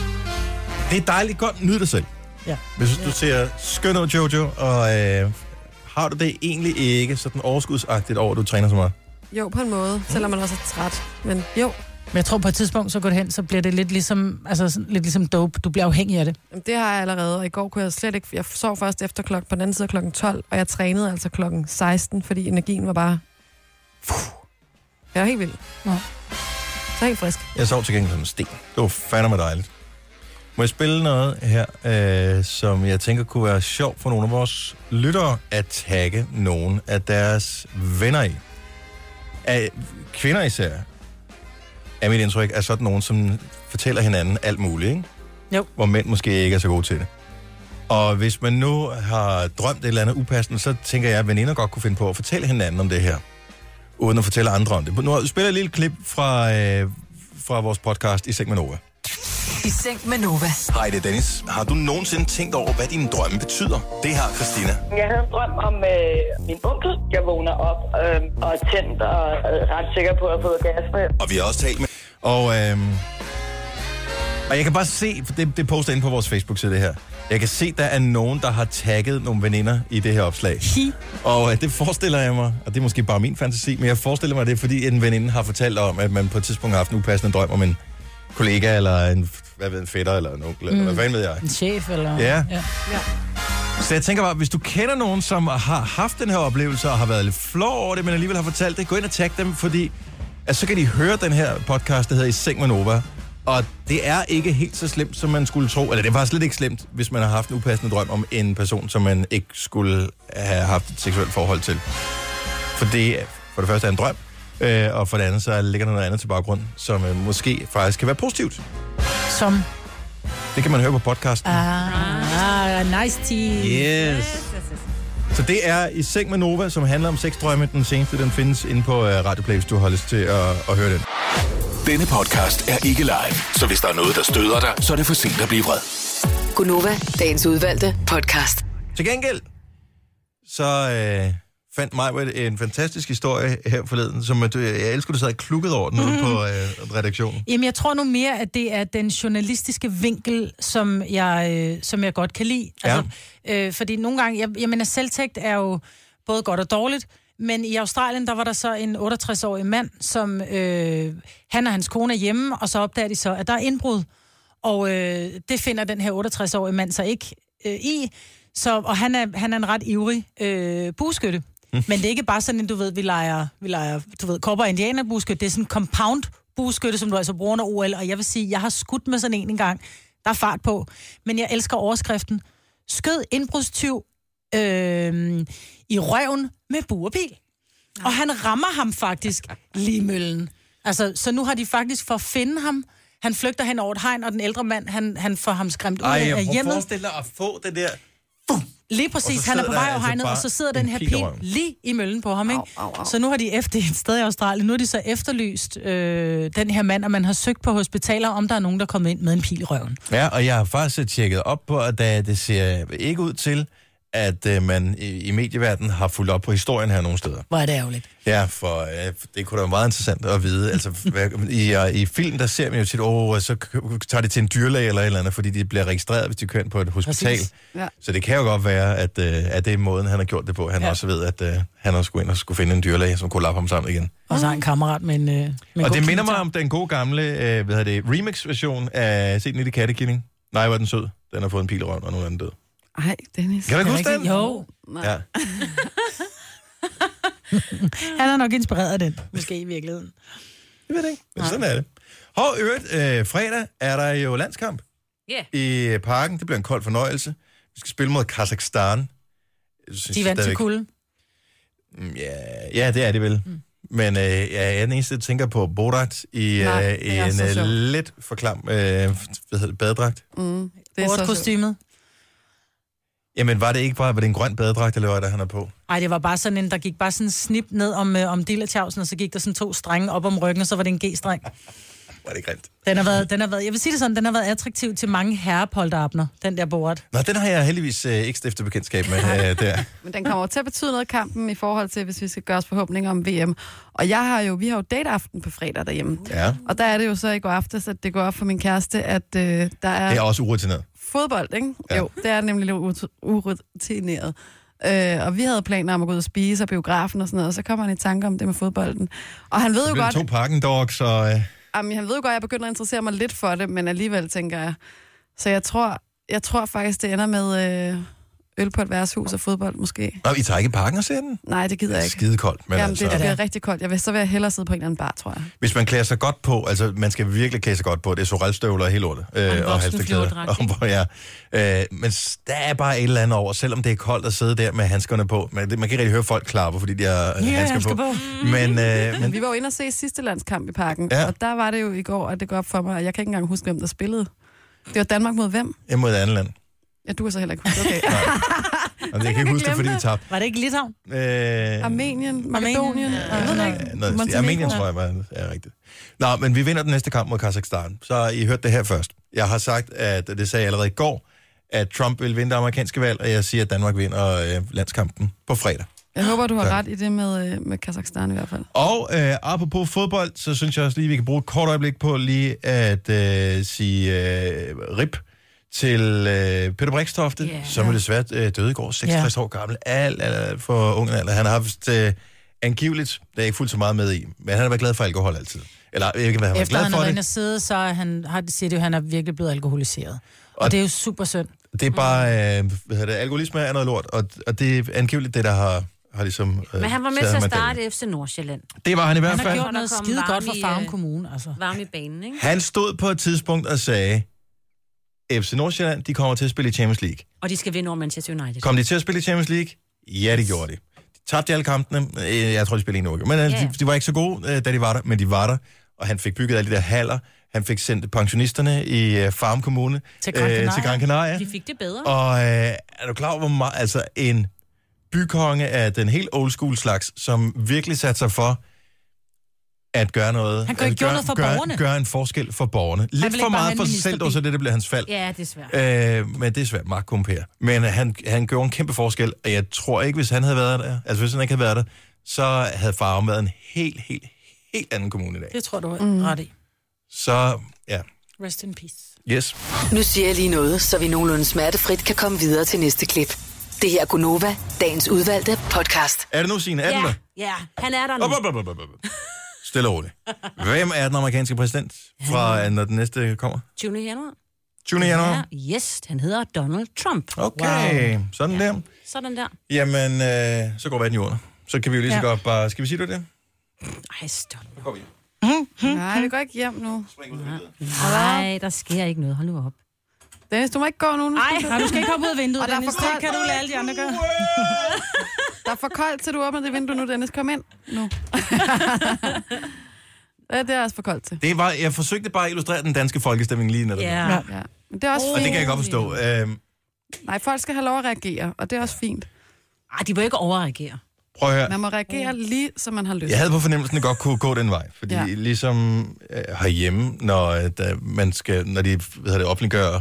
Speaker 1: Det er dejligt godt. Nyd dig selv.
Speaker 3: Ja.
Speaker 1: Hvis du ser skøn ud, Jojo, og øh, har du det egentlig ikke sådan overskudsagtigt over, at du træner så meget?
Speaker 4: Jo, på en måde, selvom man også er træt. Men jo,
Speaker 3: men jeg tror på et tidspunkt, så går det hen, så bliver det lidt ligesom, altså, sådan lidt ligesom dope. Du bliver afhængig af det.
Speaker 4: jamen, det har jeg allerede, og i går kunne jeg slet ikke... Jeg sov først efter klokken, på den anden side af klokken 12, og jeg trænede altså klokken 16, fordi energien var bare... Jeg var helt vild.
Speaker 3: Nå.
Speaker 4: Så helt frisk.
Speaker 1: Jeg sov til gengæld som en sten. Det var fandme dejligt. Må jeg spille noget her, øh, som jeg tænker kunne være sjovt for nogle af vores lyttere at tagge nogen af deres venner i? Af, kvinder især, er mit indtryk, er sådan nogen, som fortæller hinanden alt muligt, ikke?
Speaker 3: Jo.
Speaker 1: Hvor mænd måske ikke er så gode til det. Og hvis man nu har drømt et eller andet upassende, så tænker jeg, at veninder godt kunne finde på at fortælle hinanden om det her, uden at fortælle andre om det. Nu spiller jeg et lille klip fra, øh, fra vores podcast i Seng med Nova.
Speaker 5: I seng med Nova.
Speaker 1: Hej, det er Dennis. Har du nogensinde tænkt over, hvad dine drømme betyder? Det har Christina.
Speaker 8: Jeg havde en drøm om øh, min onkel. Jeg vågner op øh, og er tændt og øh, ret sikker på at få gas med.
Speaker 1: Og vi har også talt med... Og, øhm, og jeg kan bare se, for det, det poster inde på vores Facebook-side, det her. Jeg kan se, der er nogen, der har tagget nogle veninder i det her opslag.
Speaker 3: Hi.
Speaker 1: Og øh, det forestiller jeg mig, og det er måske bare min fantasi, men jeg forestiller mig, det er fordi en veninde har fortalt om, at man på et tidspunkt har haft en upassende drøm om en kollega, eller en, hvad ved, en fætter, eller en onkel, mm. eller hvad fanden ved jeg.
Speaker 3: En chef, eller...
Speaker 1: Ja.
Speaker 3: ja.
Speaker 1: Så jeg tænker bare, hvis du kender nogen, som har haft den her oplevelse og har været lidt flov over det, men alligevel har fortalt det, gå ind og tag dem, fordi at så kan de høre den her podcast, der hedder I Seng med Nova. Og det er ikke helt så slemt, som man skulle tro. Eller det var slet ikke slemt, hvis man har haft en upassende drøm om en person, som man ikke skulle have haft et seksuelt forhold til. For det er- for det første er en drøm, øh, og for det andet så ligger der noget andet til baggrund, som øh, måske faktisk kan være positivt.
Speaker 3: Som...
Speaker 1: Det kan man høre på podcasten.
Speaker 3: Ah, nice tea.
Speaker 1: Yes. Så det er I Seng med Nova, som handler om sexdrømme. Den seneste, den findes inde på øh, Radio Play, hvis du har lyst til at, at høre den.
Speaker 6: Denne podcast er ikke live, så hvis der er noget, der støder dig, så er det for sent at blive vred.
Speaker 5: Gunova, dagens udvalgte podcast.
Speaker 1: Til gengæld, så øh, fandt mig en fantastisk historie her forleden, som at, øh, jeg elsker, du sad og klukkede over den ude på øh, redaktionen.
Speaker 3: Jamen, jeg tror nu mere, at det er den journalistiske vinkel, som jeg, øh, som jeg godt kan lide. Altså, ja. øh, fordi nogle gange, jeg, jeg mener, selvtægt er jo både godt og dårligt, men i Australien, der var der så en 68-årig mand, som øh, han og hans kone er hjemme, og så opdager de så, at der er indbrud. Og øh, det finder den her 68-årige mand så ikke øh, i. Så, og han er, han er en ret ivrig øh, buskytte. Mm. Men det er ikke bare sådan, at du ved, vi leger, vi leger du ved, kopper og indianer buskytte. Det er sådan en compound buskytte, som du altså bruger under OL. Og jeg vil sige, jeg har skudt med sådan en engang. Der er fart på. Men jeg elsker overskriften. Skød indbrudstyv øh, i røven med buerpil. Og han rammer ham faktisk lige i møllen. Altså, så nu har de faktisk for at finde ham. Han flygter hen over et hegn, og den ældre mand, han, han får ham skræmt ud af af hjemmet.
Speaker 1: forestille dig at få det der.
Speaker 3: Lige
Speaker 1: Og
Speaker 3: præcis,
Speaker 1: så
Speaker 3: han er
Speaker 1: sidder
Speaker 3: på
Speaker 1: der
Speaker 3: vej over
Speaker 1: altså
Speaker 3: hegnet,
Speaker 1: bare
Speaker 3: og så sidder
Speaker 1: en
Speaker 3: den her
Speaker 1: pil i
Speaker 3: pil
Speaker 1: røven.
Speaker 3: lige i møllen på ham, ikke? Så nu har de efter et sted i Australien, nu er de så efterlyst øh, den her mand, og man har søgt på hospitaler, om der er nogen, der er kommet ind med en pil i røven.
Speaker 1: Ja, og jeg har faktisk øh, tjekket op på, at øh, det ser ikke ud til, at øh, man i, i medieverdenen har fulgt op på historien her nogle steder.
Speaker 3: Hvor er det ærgerligt.
Speaker 1: Ja, for øh, det kunne da være meget interessant at vide. Altså, hvad, i, øh, I film, der ser man jo tit, åh, øh, så k- tager de til en dyrlæge eller et eller andet, fordi de bliver registreret, hvis de kører ind på et hospital.
Speaker 3: Præcis.
Speaker 1: Ja. Så det kan jo godt være, at, øh, at det er måden, han har gjort det på. Han ja.
Speaker 3: Ja.
Speaker 1: også ved, at øh, han også skulle ind og skulle finde en dyrlæge, som kunne lappe ham sammen igen.
Speaker 3: Og så har en kammerat med en, øh, med en
Speaker 1: Men og
Speaker 3: god
Speaker 1: det minder mig
Speaker 3: kniv.
Speaker 1: om den gode gamle, øh, hvad hedder det, remix-version af Se den i det kattekilling. Nej, hvor er den sød. Den har fået en pil i røven, og nu er den død.
Speaker 4: Ej, Dennis.
Speaker 1: Kan du ikke
Speaker 3: Er det
Speaker 1: huske den?
Speaker 3: rigtigt? Jo,
Speaker 1: Ja.
Speaker 3: han er nok inspireret af den, måske i virkeligheden.
Speaker 1: Jeg ved det ikke, men sådan er det. Hov, i øvrigt, øh, fredag er der jo landskamp.
Speaker 2: Ja.
Speaker 1: i øh, parken. Det bliver en kold fornøjelse. Vi skal spille mod Kazakhstan. Jeg synes
Speaker 3: De vandt til
Speaker 1: stadigvæk-
Speaker 3: kulde.
Speaker 1: Mm, Ja, ja, det er det vel. Mm. Men øh, ja, jeg er den eneste, der tænker på Borat i
Speaker 4: Nej,
Speaker 1: øh,
Speaker 4: det er
Speaker 1: en
Speaker 4: så
Speaker 1: øh,
Speaker 4: sjovt.
Speaker 1: lidt for klam øh, hvad hedder det, badedragt.
Speaker 4: Mm, det er
Speaker 3: Bort
Speaker 4: så sødt.
Speaker 3: kostymet.
Speaker 1: Jamen, var det ikke bare, var det en grøn badedragt, eller hvad der han er på?
Speaker 3: Ej, det var bare sådan en, der gik bare sådan en snip ned om, øh, om dillertjavsen, og så gik der sådan to strenge op om ryggen, og så var det en G-streng.
Speaker 1: Var det grimt?
Speaker 3: Den har været, den har været, jeg vil sige det sådan, den har været attraktiv til mange herrepolterabner, den der boret.
Speaker 1: Nå, den har jeg heldigvis øh, ikke stiftet bekendtskab med øh, der.
Speaker 4: Men den kommer jo til at betyde noget i kampen i forhold til, hvis vi skal gøre os forhåbninger om VM. Og jeg har jo, vi har jo dateaften på fredag derhjemme.
Speaker 1: Ja.
Speaker 4: Og der er det jo så i går aftes, at det går op for min kæreste, at øh, der
Speaker 1: Det
Speaker 4: er
Speaker 1: er også urutineret.
Speaker 4: fodbold, ikke?
Speaker 1: Ja.
Speaker 4: Ja. Jo, det er nemlig lidt ut- urutineret. Øh, og vi havde planer om at gå ud og spise og biografen og sådan noget, og så kommer han i tanke om det med fodbolden. Og han ved jo
Speaker 1: Det er
Speaker 4: godt,
Speaker 1: to parken dogs, og... Øh,
Speaker 4: Jamen, han ved jo godt, at jeg begynder at interessere mig lidt for det, men alligevel tænker jeg. Så jeg tror, jeg tror faktisk, det ender med øh, øl på et værtshus og fodbold måske.
Speaker 1: Nå, I tager ikke i parken og ser den?
Speaker 4: Nej, det gider jeg ikke.
Speaker 1: Skide koldt, men
Speaker 4: Jamen,
Speaker 1: altså...
Speaker 4: det, det bliver rigtig koldt. Jeg vil, så vil jeg hellere sidde på en eller anden bar, tror jeg.
Speaker 1: Hvis man klæder sig godt på, altså man skal virkelig klæde sig godt på, det er sorelstøvler og hele lortet. Øh,
Speaker 2: en voksenflyverdragt,
Speaker 1: [LAUGHS] Og, hvor- ja. øh, men s- der er bare et eller andet over, selvom det er koldt at sidde der med handskerne på. Man, det, man kan ikke rigtig høre folk klappe, fordi de har yeah, handsker,
Speaker 3: handsker
Speaker 1: på.
Speaker 3: på.
Speaker 1: Men, øh, men
Speaker 4: Vi var jo inde og se sidste landskamp i parken,
Speaker 1: Ja.
Speaker 4: ja. og der var det jo i går, at det går op for mig, og jeg kan ikke engang huske, hvem der spillede. Det var Danmark mod hvem?
Speaker 1: jeg mod et andet land.
Speaker 4: Ja, du er så heller
Speaker 1: [LAUGHS]
Speaker 4: ikke huske. Okay.
Speaker 1: Jamen, jeg kan ikke huske det, fordi de tabte.
Speaker 3: Var det ikke Litauen?
Speaker 1: Øh,
Speaker 4: Armenien, Makedonien, og jeg ved det ikke.
Speaker 1: Ja, noget, i stil. Armenien, tror jeg, var er rigtigt. Nå, men vi vinder den næste kamp mod Kazakhstan. Så I hørte det her først. Jeg har sagt, at og det sagde jeg allerede i går, at Trump vil vinde det amerikanske valg, og jeg siger, at Danmark vinder øh, landskampen på fredag.
Speaker 4: Jeg håber, du har ret i det med, øh, med Kazakhstan i hvert fald.
Speaker 1: Og øh, apropos fodbold, så synes jeg også lige, vi kan bruge et kort øjeblik på lige at øh, sige øh, rip til øh, Peter Brikstofte, yeah.
Speaker 2: Ja.
Speaker 1: som jo desværre øh, døde i går, 66 yeah. år gammel, alt, alt, alt for ung en alder. Han har haft øh, angiveligt, det er jeg ikke fuldt så meget med i, men han har været glad for alkohol altid. Eller jeg ved ikke, hvad han var
Speaker 3: Efter
Speaker 1: glad
Speaker 3: han
Speaker 1: for
Speaker 3: har været
Speaker 1: det.
Speaker 3: inde og sidde, så er han, har, siger det jo, at han er virkelig blevet alkoholiseret. Og,
Speaker 1: Og-
Speaker 3: og det er jo super synd.
Speaker 1: Det er bare,
Speaker 2: Mm.
Speaker 1: øh, hvad hedder det, alkoholisme er noget lort, og, og det er angiveligt det, der har, har ligesom... Øh,
Speaker 2: Men han var med
Speaker 1: taget
Speaker 2: til at
Speaker 1: ham af
Speaker 2: starte FC Nordsjælland.
Speaker 1: dagen. Det var han i hvert
Speaker 3: Han har
Speaker 1: fald.
Speaker 3: gjort noget
Speaker 2: Der kom
Speaker 3: skide godt for
Speaker 2: varme i,
Speaker 3: Farum
Speaker 2: øh,
Speaker 3: Kommune, altså.
Speaker 2: Varm i banen, ikke?
Speaker 1: Han stod på et tidspunkt og sagde, FC Nordsjælland, de kommer til at spille i Champions League.
Speaker 2: Og de skal vinde over Manchester United.
Speaker 1: Kom de til at spille i Champions League? Ja, det gjorde de. De tabte alle kampene. Øh, Jeg tror, de spillede en uge. Men øh,
Speaker 2: Ja.
Speaker 1: de, de var ikke så gode, øh, da de var der, men de var der. Og han fik bygget alle de der haller. Han fik sendt pensionisterne i øh, Farm Kommune øh,
Speaker 3: Til Gran Canaria.
Speaker 1: til Gran Canaria.
Speaker 2: De fik det bedre.
Speaker 1: Og øh, er du klar over, hvor meget, altså en bykonge af den helt old school slags, som virkelig satte sig for at gøre noget.
Speaker 3: Han kunne ikke
Speaker 1: at gøre,
Speaker 3: gøre noget for
Speaker 1: gøre,
Speaker 3: borgerne.
Speaker 1: Gøre en forskel for borgerne. Lidt
Speaker 3: ville
Speaker 1: for
Speaker 3: ikke bare have
Speaker 1: meget
Speaker 3: en
Speaker 1: for sig
Speaker 3: minister
Speaker 1: selv, dog, så det, det bliver hans fald.
Speaker 2: Ja, desværre.
Speaker 1: Øh, men det er svært, Mark Kumper. Men øh, han, han gjorde en kæmpe forskel, og jeg tror ikke, hvis han havde været der, altså hvis han ikke havde været der, så havde Farum været en helt, helt, helt anden kommune i dag.
Speaker 3: Det tror du er mm. ret i.
Speaker 1: Så, ja.
Speaker 3: Rest in peace.
Speaker 1: Yes.
Speaker 5: Nu siger jeg lige noget, så vi nogenlunde smertefrit kan komme videre til næste klip. Det her er Gunova, dagens udvalgte podcast.
Speaker 1: Er det nu, Signe? Er den der?
Speaker 2: Ja, ja, han er der nu.
Speaker 1: Op, op, op, op, op, op. Stille og roligt. Hvem er den amerikanske præsident, fra, øh, når den næste kommer?
Speaker 2: 20. januar.
Speaker 1: 20. januar?
Speaker 2: Ja, yes, han hedder Donald Trump.
Speaker 1: Okay, sådan der.
Speaker 2: Sådan der.
Speaker 1: Jamen, øh, så går verden i under. Så kan vi jo lige så
Speaker 3: Ja.
Speaker 1: godt bare... Skal vi sige det? var det?
Speaker 2: Ej, stop.
Speaker 1: Så går vi.
Speaker 4: Nej, vi går ikke hjem nu.
Speaker 2: Nej, der sker ikke noget. Hold nu op.
Speaker 4: Dennis, du må ikke gå nu. nu. skal
Speaker 3: Nej, du skal ikke hoppe ud af vinduet,
Speaker 4: Og der er
Speaker 3: Dennis.
Speaker 4: for
Speaker 3: Det
Speaker 4: koldt.
Speaker 3: kan du lade alle de andre gøre.
Speaker 4: Der er for koldt, til du åbner det vindue nu, Dennis. Kom ind nu. ja, det er også for koldt til.
Speaker 1: Det var, jeg forsøgte bare at illustrere den danske folkestemning lige netop.
Speaker 2: Ja.
Speaker 3: Ja.
Speaker 4: Ja. Men det er også
Speaker 1: Og det
Speaker 4: fint.
Speaker 1: kan jeg godt forstå. Øhm,
Speaker 4: Nej, folk skal have lov at reagere, og det er også fint.
Speaker 2: Ej, de bør ikke overreagere.
Speaker 1: prøv at høre.
Speaker 4: Man må reagere lige, som man har lyst.
Speaker 1: Jeg havde på fornemmelsen, at det godt kunne gå den vej. Fordi ja.
Speaker 4: Ja.
Speaker 1: ligesom øh, herhjemme, når, øh, da man skal, når de hvad hedder det, offentliggør,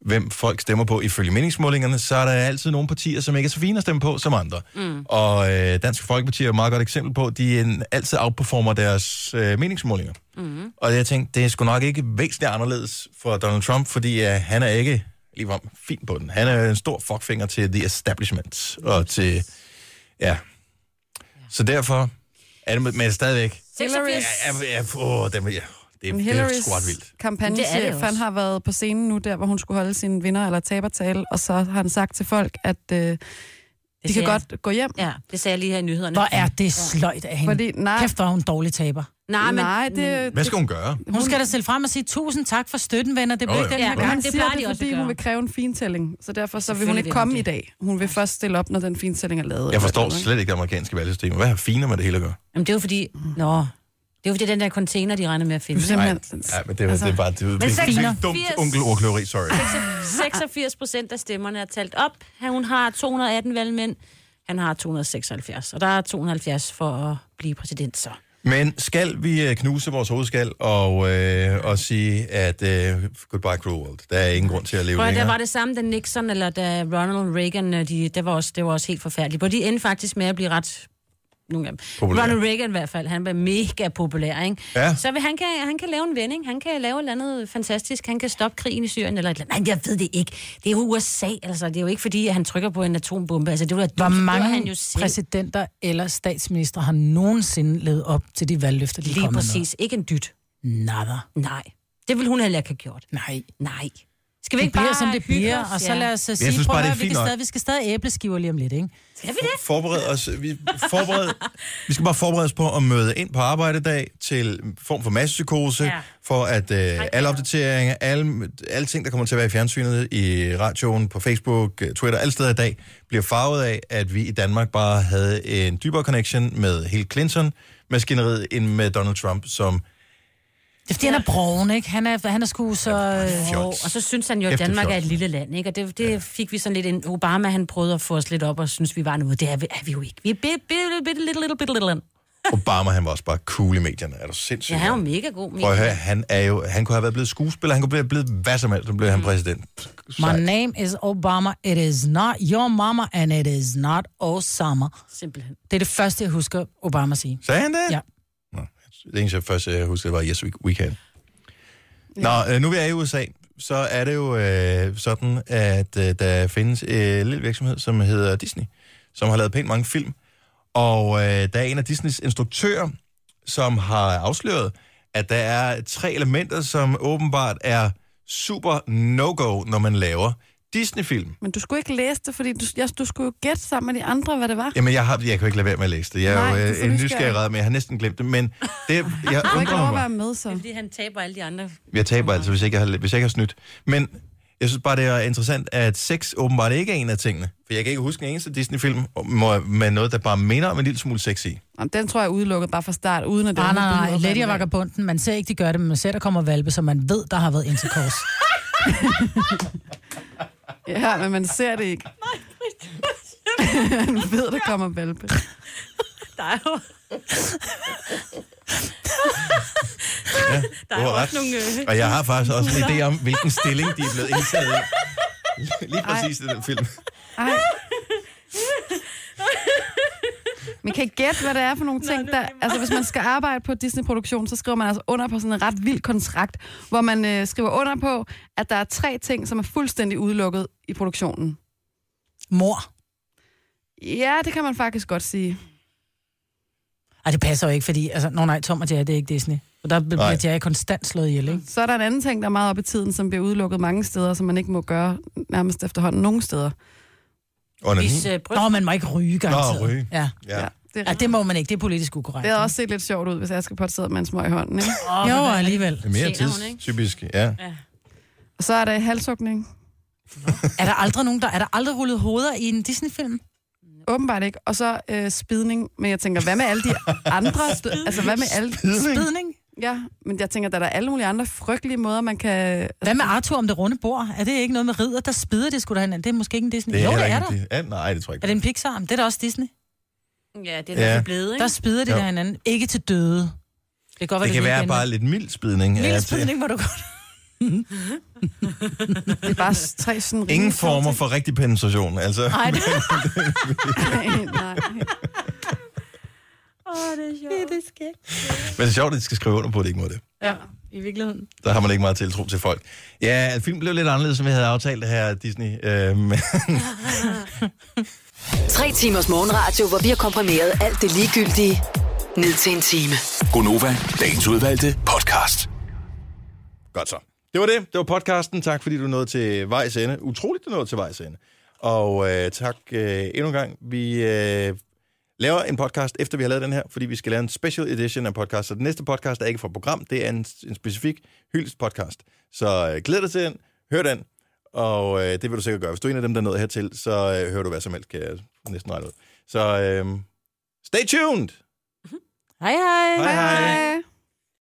Speaker 1: hvem folk stemmer på ifølge meningsmålingerne, så er der altid nogle partier, som ikke er så fine at stemme på som andre. Mm. Og øh, Dansk Folkeparti er et meget godt eksempel på, de en, altid outperformer deres øh, meningsmålinger. Mm. Og jeg tænkte, det er sgu nok ikke væsentligt anderledes for Donald Trump, fordi øh, han er ikke ligefrem fin på den. Han er en stor fuckfinger til the establishment og til... Ja. Så derfor er det, men stadigvæk...
Speaker 2: 86.
Speaker 1: Ja, ja, ja, åh, dem, ja. Det,
Speaker 4: Men
Speaker 1: det er
Speaker 4: Hillarys
Speaker 1: sgu ret vildt.
Speaker 2: Det er det
Speaker 4: kampagnechef,
Speaker 2: også.
Speaker 4: han har været på scenen nu, der hvor hun skulle holde sin vinder- eller tabertale, og så har han sagt til folk, at øh, de
Speaker 2: siger
Speaker 4: kan
Speaker 2: jeg.
Speaker 4: godt gå hjem.
Speaker 2: Ja, det sagde jeg lige her i nyhederne.
Speaker 3: Hvor er det sløjt af hende.
Speaker 4: Fordi, nej,
Speaker 3: Kæft, hvor er hun en dårlig taber.
Speaker 2: Nej, men...
Speaker 4: nej, det,
Speaker 1: Hvad skal hun gøre?
Speaker 3: Hun skal da stille frem og sige, tusind tak for støtten, venner. Det
Speaker 1: Jo,
Speaker 3: blev ikke
Speaker 1: jo.
Speaker 3: den
Speaker 2: Ja,
Speaker 3: her
Speaker 4: Men
Speaker 3: gang.
Speaker 4: han
Speaker 2: det
Speaker 4: siger
Speaker 2: plejer de
Speaker 4: det,
Speaker 2: også
Speaker 4: fordi
Speaker 2: at gøre.
Speaker 4: hun vil kræve en fintælling, så derfor så vil hun
Speaker 2: Selvfølgelig
Speaker 4: ikke
Speaker 2: vil hun
Speaker 4: komme
Speaker 2: det.
Speaker 4: i dag. Hun vil først stille op, når den fintælling er lavet.
Speaker 1: Jeg forstår
Speaker 4: Eller sådan,
Speaker 1: slet ikke det amerikanske valgsystem. Hvad har finer med det hele at gøre?
Speaker 2: Jamen, det er jo fordi... Nå, Det er jo fordi, den der container, de regner med at [LAUGHS] finde.
Speaker 1: Nej,
Speaker 4: Simpelthen.
Speaker 1: nej, men det, altså, det er bare... Det, det, det,
Speaker 2: seks-
Speaker 1: det er dumt onkel ordkløveri, sorry.
Speaker 2: 86 procent af stemmerne er talt op. Han- Hun har 218 valgmænd. Han har 276, og der er 270 for at blive præsident så.
Speaker 1: Men skal vi øh, knuse vores hovedskal og, øh, og sige, at øh, goodbye cruel world. Der er ingen grund til at leve
Speaker 2: Prøv, at, der
Speaker 1: længere.
Speaker 2: var det samme, da Nixon eller da Ronald Reagan, øh, de, det, var også, det var også helt forfærdeligt. Og de endte faktisk med at blive ret... Nogle af dem.
Speaker 1: Populære.
Speaker 2: Ronald Reagan i hvert fald, han var mega populær, ikke?
Speaker 1: Ja.
Speaker 2: Så vil- han kan, han kan lave en vending, han kan lave et eller andet fantastisk, han kan stoppe krigen i Syrien eller et eller andet. Nej, jeg ved det ikke. Det er jo USA, altså. Det er jo ikke, fordi at han trykker på en atombombe. Altså, det var,
Speaker 3: Hvor mange
Speaker 2: han jo selv.
Speaker 3: præsidenter eller statsminister har nogensinde levet op til de valgløfter, de
Speaker 2: Lige
Speaker 3: kom med?
Speaker 2: præcis. Ikke en dyt.
Speaker 3: Nada.
Speaker 2: Nej. Det ville hun heller ikke have gjort.
Speaker 3: Nej.
Speaker 2: Nej. Skal vi
Speaker 3: Det
Speaker 2: ikke
Speaker 3: bliver,
Speaker 2: bare
Speaker 3: som det
Speaker 2: hygge
Speaker 3: bliver,
Speaker 2: os?
Speaker 3: og så
Speaker 2: Ja.
Speaker 3: lad os øh, sige,
Speaker 1: synes
Speaker 3: prøv
Speaker 1: bare,
Speaker 3: at
Speaker 1: det er
Speaker 3: høre, vi,
Speaker 1: fint
Speaker 3: kan
Speaker 1: nok.
Speaker 3: stadig, vi skal stadig æbleskiver lige om lidt, ikke?
Speaker 2: Er vi det?
Speaker 1: forberede os, vi, forberede, vi skal bare forberede os på at møde ind på arbejdedag til en form for massepsykose, ja.
Speaker 2: Ja.
Speaker 1: for at øh, alle opdateringer, alle, alle ting, der kommer til at være i fjernsynet, i radioen, på Facebook, øh, Twitter, alle steder i dag, bliver farvet af, at vi i Danmark bare havde en dybere connection med hele Clinton-maskineriet end med Donald Trump, som
Speaker 3: Det er fordi, han er brogen, ikke? Han er, han er sgu så...
Speaker 2: Jo,
Speaker 3: øh,
Speaker 1: fjols.
Speaker 2: og så synes han jo, at
Speaker 1: Kæft, det er
Speaker 2: Danmark er
Speaker 1: fjols.
Speaker 2: et lille land, ikke? Og det, det fik vi sådan lidt ind. Obama, han prøvede at få os lidt op og synes, vi var noget. Det er vi, er vi jo ikke. Vi er bitte, bitte, bitte, bitte, bitte, bitte, bitte land.
Speaker 1: Obama, han var også bare cool i medierne. Er du sindssyg?
Speaker 2: Ja, han er jo
Speaker 1: mand?
Speaker 2: mega god.
Speaker 1: Prøv at
Speaker 2: Mikael.
Speaker 1: høre, han, er jo, han kunne have været blevet skuespiller, han kunne have blevet hvad som helst, så blev han
Speaker 2: Mm.
Speaker 1: præsident.
Speaker 3: My name is Obama, it is not your mama, and it is not Osama.
Speaker 2: Simpelthen.
Speaker 3: Det er det første, jeg husker Obama sige.
Speaker 1: Sagde han det?
Speaker 3: Ja.
Speaker 1: Nå, det eneste, jeg først jeg husker, var Yes We, we Can. Nå, øh, nu vi er i USA, så er det jo øh, sådan, at øh, der findes en øh, lille virksomhed, som hedder Disney, som har lavet pænt mange film. Og øh, der er en af Disneys instruktører, som har afsløret, at der er tre elementer, som åbenbart er super no-go, når man laver Disney-film.
Speaker 4: Men du skulle ikke læse det, fordi du, jeg, du skulle jo gætte sammen med de andre, hvad det var.
Speaker 1: Jamen, jeg, har, jeg kan jo ikke lade være med at læse det. Jeg er
Speaker 4: Nej,
Speaker 1: jo
Speaker 4: det er så
Speaker 1: øh, en
Speaker 4: nysgerrig.
Speaker 1: nysgerrig ret, men jeg har næsten glemt det. Men det, jeg
Speaker 4: Du må ikke
Speaker 1: undrer
Speaker 4: lov at
Speaker 1: mig.
Speaker 4: være med, så.
Speaker 2: Fordi han taber alle de andre.
Speaker 1: Jeg taber altså, hvis ikke jeg, har, hvis jeg ikke har snydt. Men jeg synes bare, det er interessant, at sex åbenbart ikke er en af tingene. For jeg kan ikke huske en eneste Disney-film må- med noget, der bare minder om en lille smule
Speaker 2: [LAUGHS]
Speaker 1: sex i.
Speaker 4: Jamen, Den tror jeg er udelukket bare fra start, uden at det
Speaker 3: Nej,
Speaker 4: overhovedet
Speaker 3: Ah, nej, nej.
Speaker 4: behøver at
Speaker 3: Lady
Speaker 4: være
Speaker 3: og
Speaker 4: med.
Speaker 3: Vagabunden, man ser ikke, de gør det, men man ser, der kommer valpe, så man ved, der har været intercourse.
Speaker 4: Ja, men man ser det [LAUGHS] ikke. [LAUGHS] Man ved, der kommer valpe.
Speaker 2: Der er jo,
Speaker 1: Der
Speaker 2: er jo også nogle, øh,
Speaker 1: Og jeg har faktisk også
Speaker 2: [LAUGHS]
Speaker 1: en idé om, hvilken stilling de er blevet indtaget i. Lige præcis i den film.
Speaker 4: Ej. Man kan ikke gætte, hvad det er for nogle ting, der... Altså, hvis man skal arbejde på Disney-produktion, så skriver man altså under på sådan en ret vild kontrakt, hvor man øh, skriver under på, at der er tre ting, som er fuldstændig udelukket i produktionen.
Speaker 3: Mor.
Speaker 4: Ja, det kan man faktisk godt sige.
Speaker 3: Ej, det passer jo ikke, fordi... Altså, nå nej, Tom og Jerry, det er ikke Disney. Og der bliver
Speaker 1: Nej.
Speaker 3: nej. Jerry konstant slået ihjel, ikke?
Speaker 4: Så er der en anden ting, der er meget op i tiden, som bliver udelukket mange steder, som man ikke må gøre nærmest efterhånden nogen steder.
Speaker 1: Under
Speaker 2: hvis øh, bryst...
Speaker 3: Nå, man må ikke ryge, garanteret.
Speaker 1: ryge.
Speaker 3: Ja.
Speaker 1: Ja.
Speaker 4: det, er,
Speaker 3: ja, det må man ikke. Det er politisk ukorrekt.
Speaker 4: det havde også set lidt sjovt ud, hvis jeg skal sidder med en smøg i hånden. Ikke?
Speaker 3: Jo, alligevel.
Speaker 1: Det er mere
Speaker 2: Senere, hun, ikke?
Speaker 1: tidstypisk, ja.
Speaker 4: Og så er der halshugning.
Speaker 3: Er der aldrig nogen, der... Er der aldrig rullet hoveder i en Disney-film?
Speaker 4: Åbenbart ikke. Og så øh, spidning. Men jeg tænker, hvad med alle de andre? stø- altså, hvad med alle...
Speaker 3: Spidning?
Speaker 4: Ja, men jeg tænker, der er der alle mulige andre frygtelige måder, man kan... Altså,
Speaker 3: Hvad med Arthur om det runde bord? Er det ikke noget med ridder? Der spider det sgu da hinanden. Det er måske ikke en Disney.
Speaker 1: Det er
Speaker 3: jo, det
Speaker 1: heller
Speaker 3: er
Speaker 1: ikke det.
Speaker 3: der.
Speaker 1: Ja, nej, det tror jeg
Speaker 3: Er
Speaker 1: ikke.
Speaker 3: det en Pixar? Men Det er da også Disney.
Speaker 2: Ja, det er
Speaker 1: Ja.
Speaker 2: der, ja. blevet, ikke?
Speaker 3: Der spider det
Speaker 1: Jo.
Speaker 3: der hinanden. Ikke til døde. Det kan godt være,
Speaker 1: Det kan
Speaker 3: er
Speaker 1: være
Speaker 3: weekenden.
Speaker 1: bare lidt mild øh, spidning.
Speaker 3: Lille
Speaker 1: Ja,
Speaker 3: spidning, hvor du godt...
Speaker 4: Det er bare s- tre sådan...
Speaker 1: Ingen former for rigtig penetration, altså.
Speaker 3: Nej, det
Speaker 4: Nej, nej.
Speaker 1: Men det er sjovt, at de skal skrive under på, at det ikke må det.
Speaker 3: Ja, i virkeligheden.
Speaker 1: Der har man ikke meget tiltro til folk. Ja, filmen blev lidt anderledes, som vi havde aftalt her, Disney. Øh, men
Speaker 5: Tre timers morgenradio, hvor vi har komprimeret alt det ligegyldige ned til en time.
Speaker 6: Gonova, dagens udvalgte podcast.
Speaker 1: Godt så. Det var det. Det var podcasten. Tak, fordi du nåede til vejs ende. Utroligt, du nåede til vejs ende. Og øh, tak øh, endnu en gang. Vi øh, laver en podcast, efter vi har lavet den her, fordi vi skal lave en special edition af podcast. Så den næste podcast er ikke fra et program, det er en, en specifik hyldest podcast. Så øh, glæd dig til den. Hør den. Og øh, det vil du sikkert gøre. Hvis du er en af dem, der nåede hertil, så øh, hører du hvad som helst, kan jeg næsten regne ud. Så øh, stay tuned!
Speaker 3: Hej, hej.
Speaker 1: Hej hej!
Speaker 4: Hej.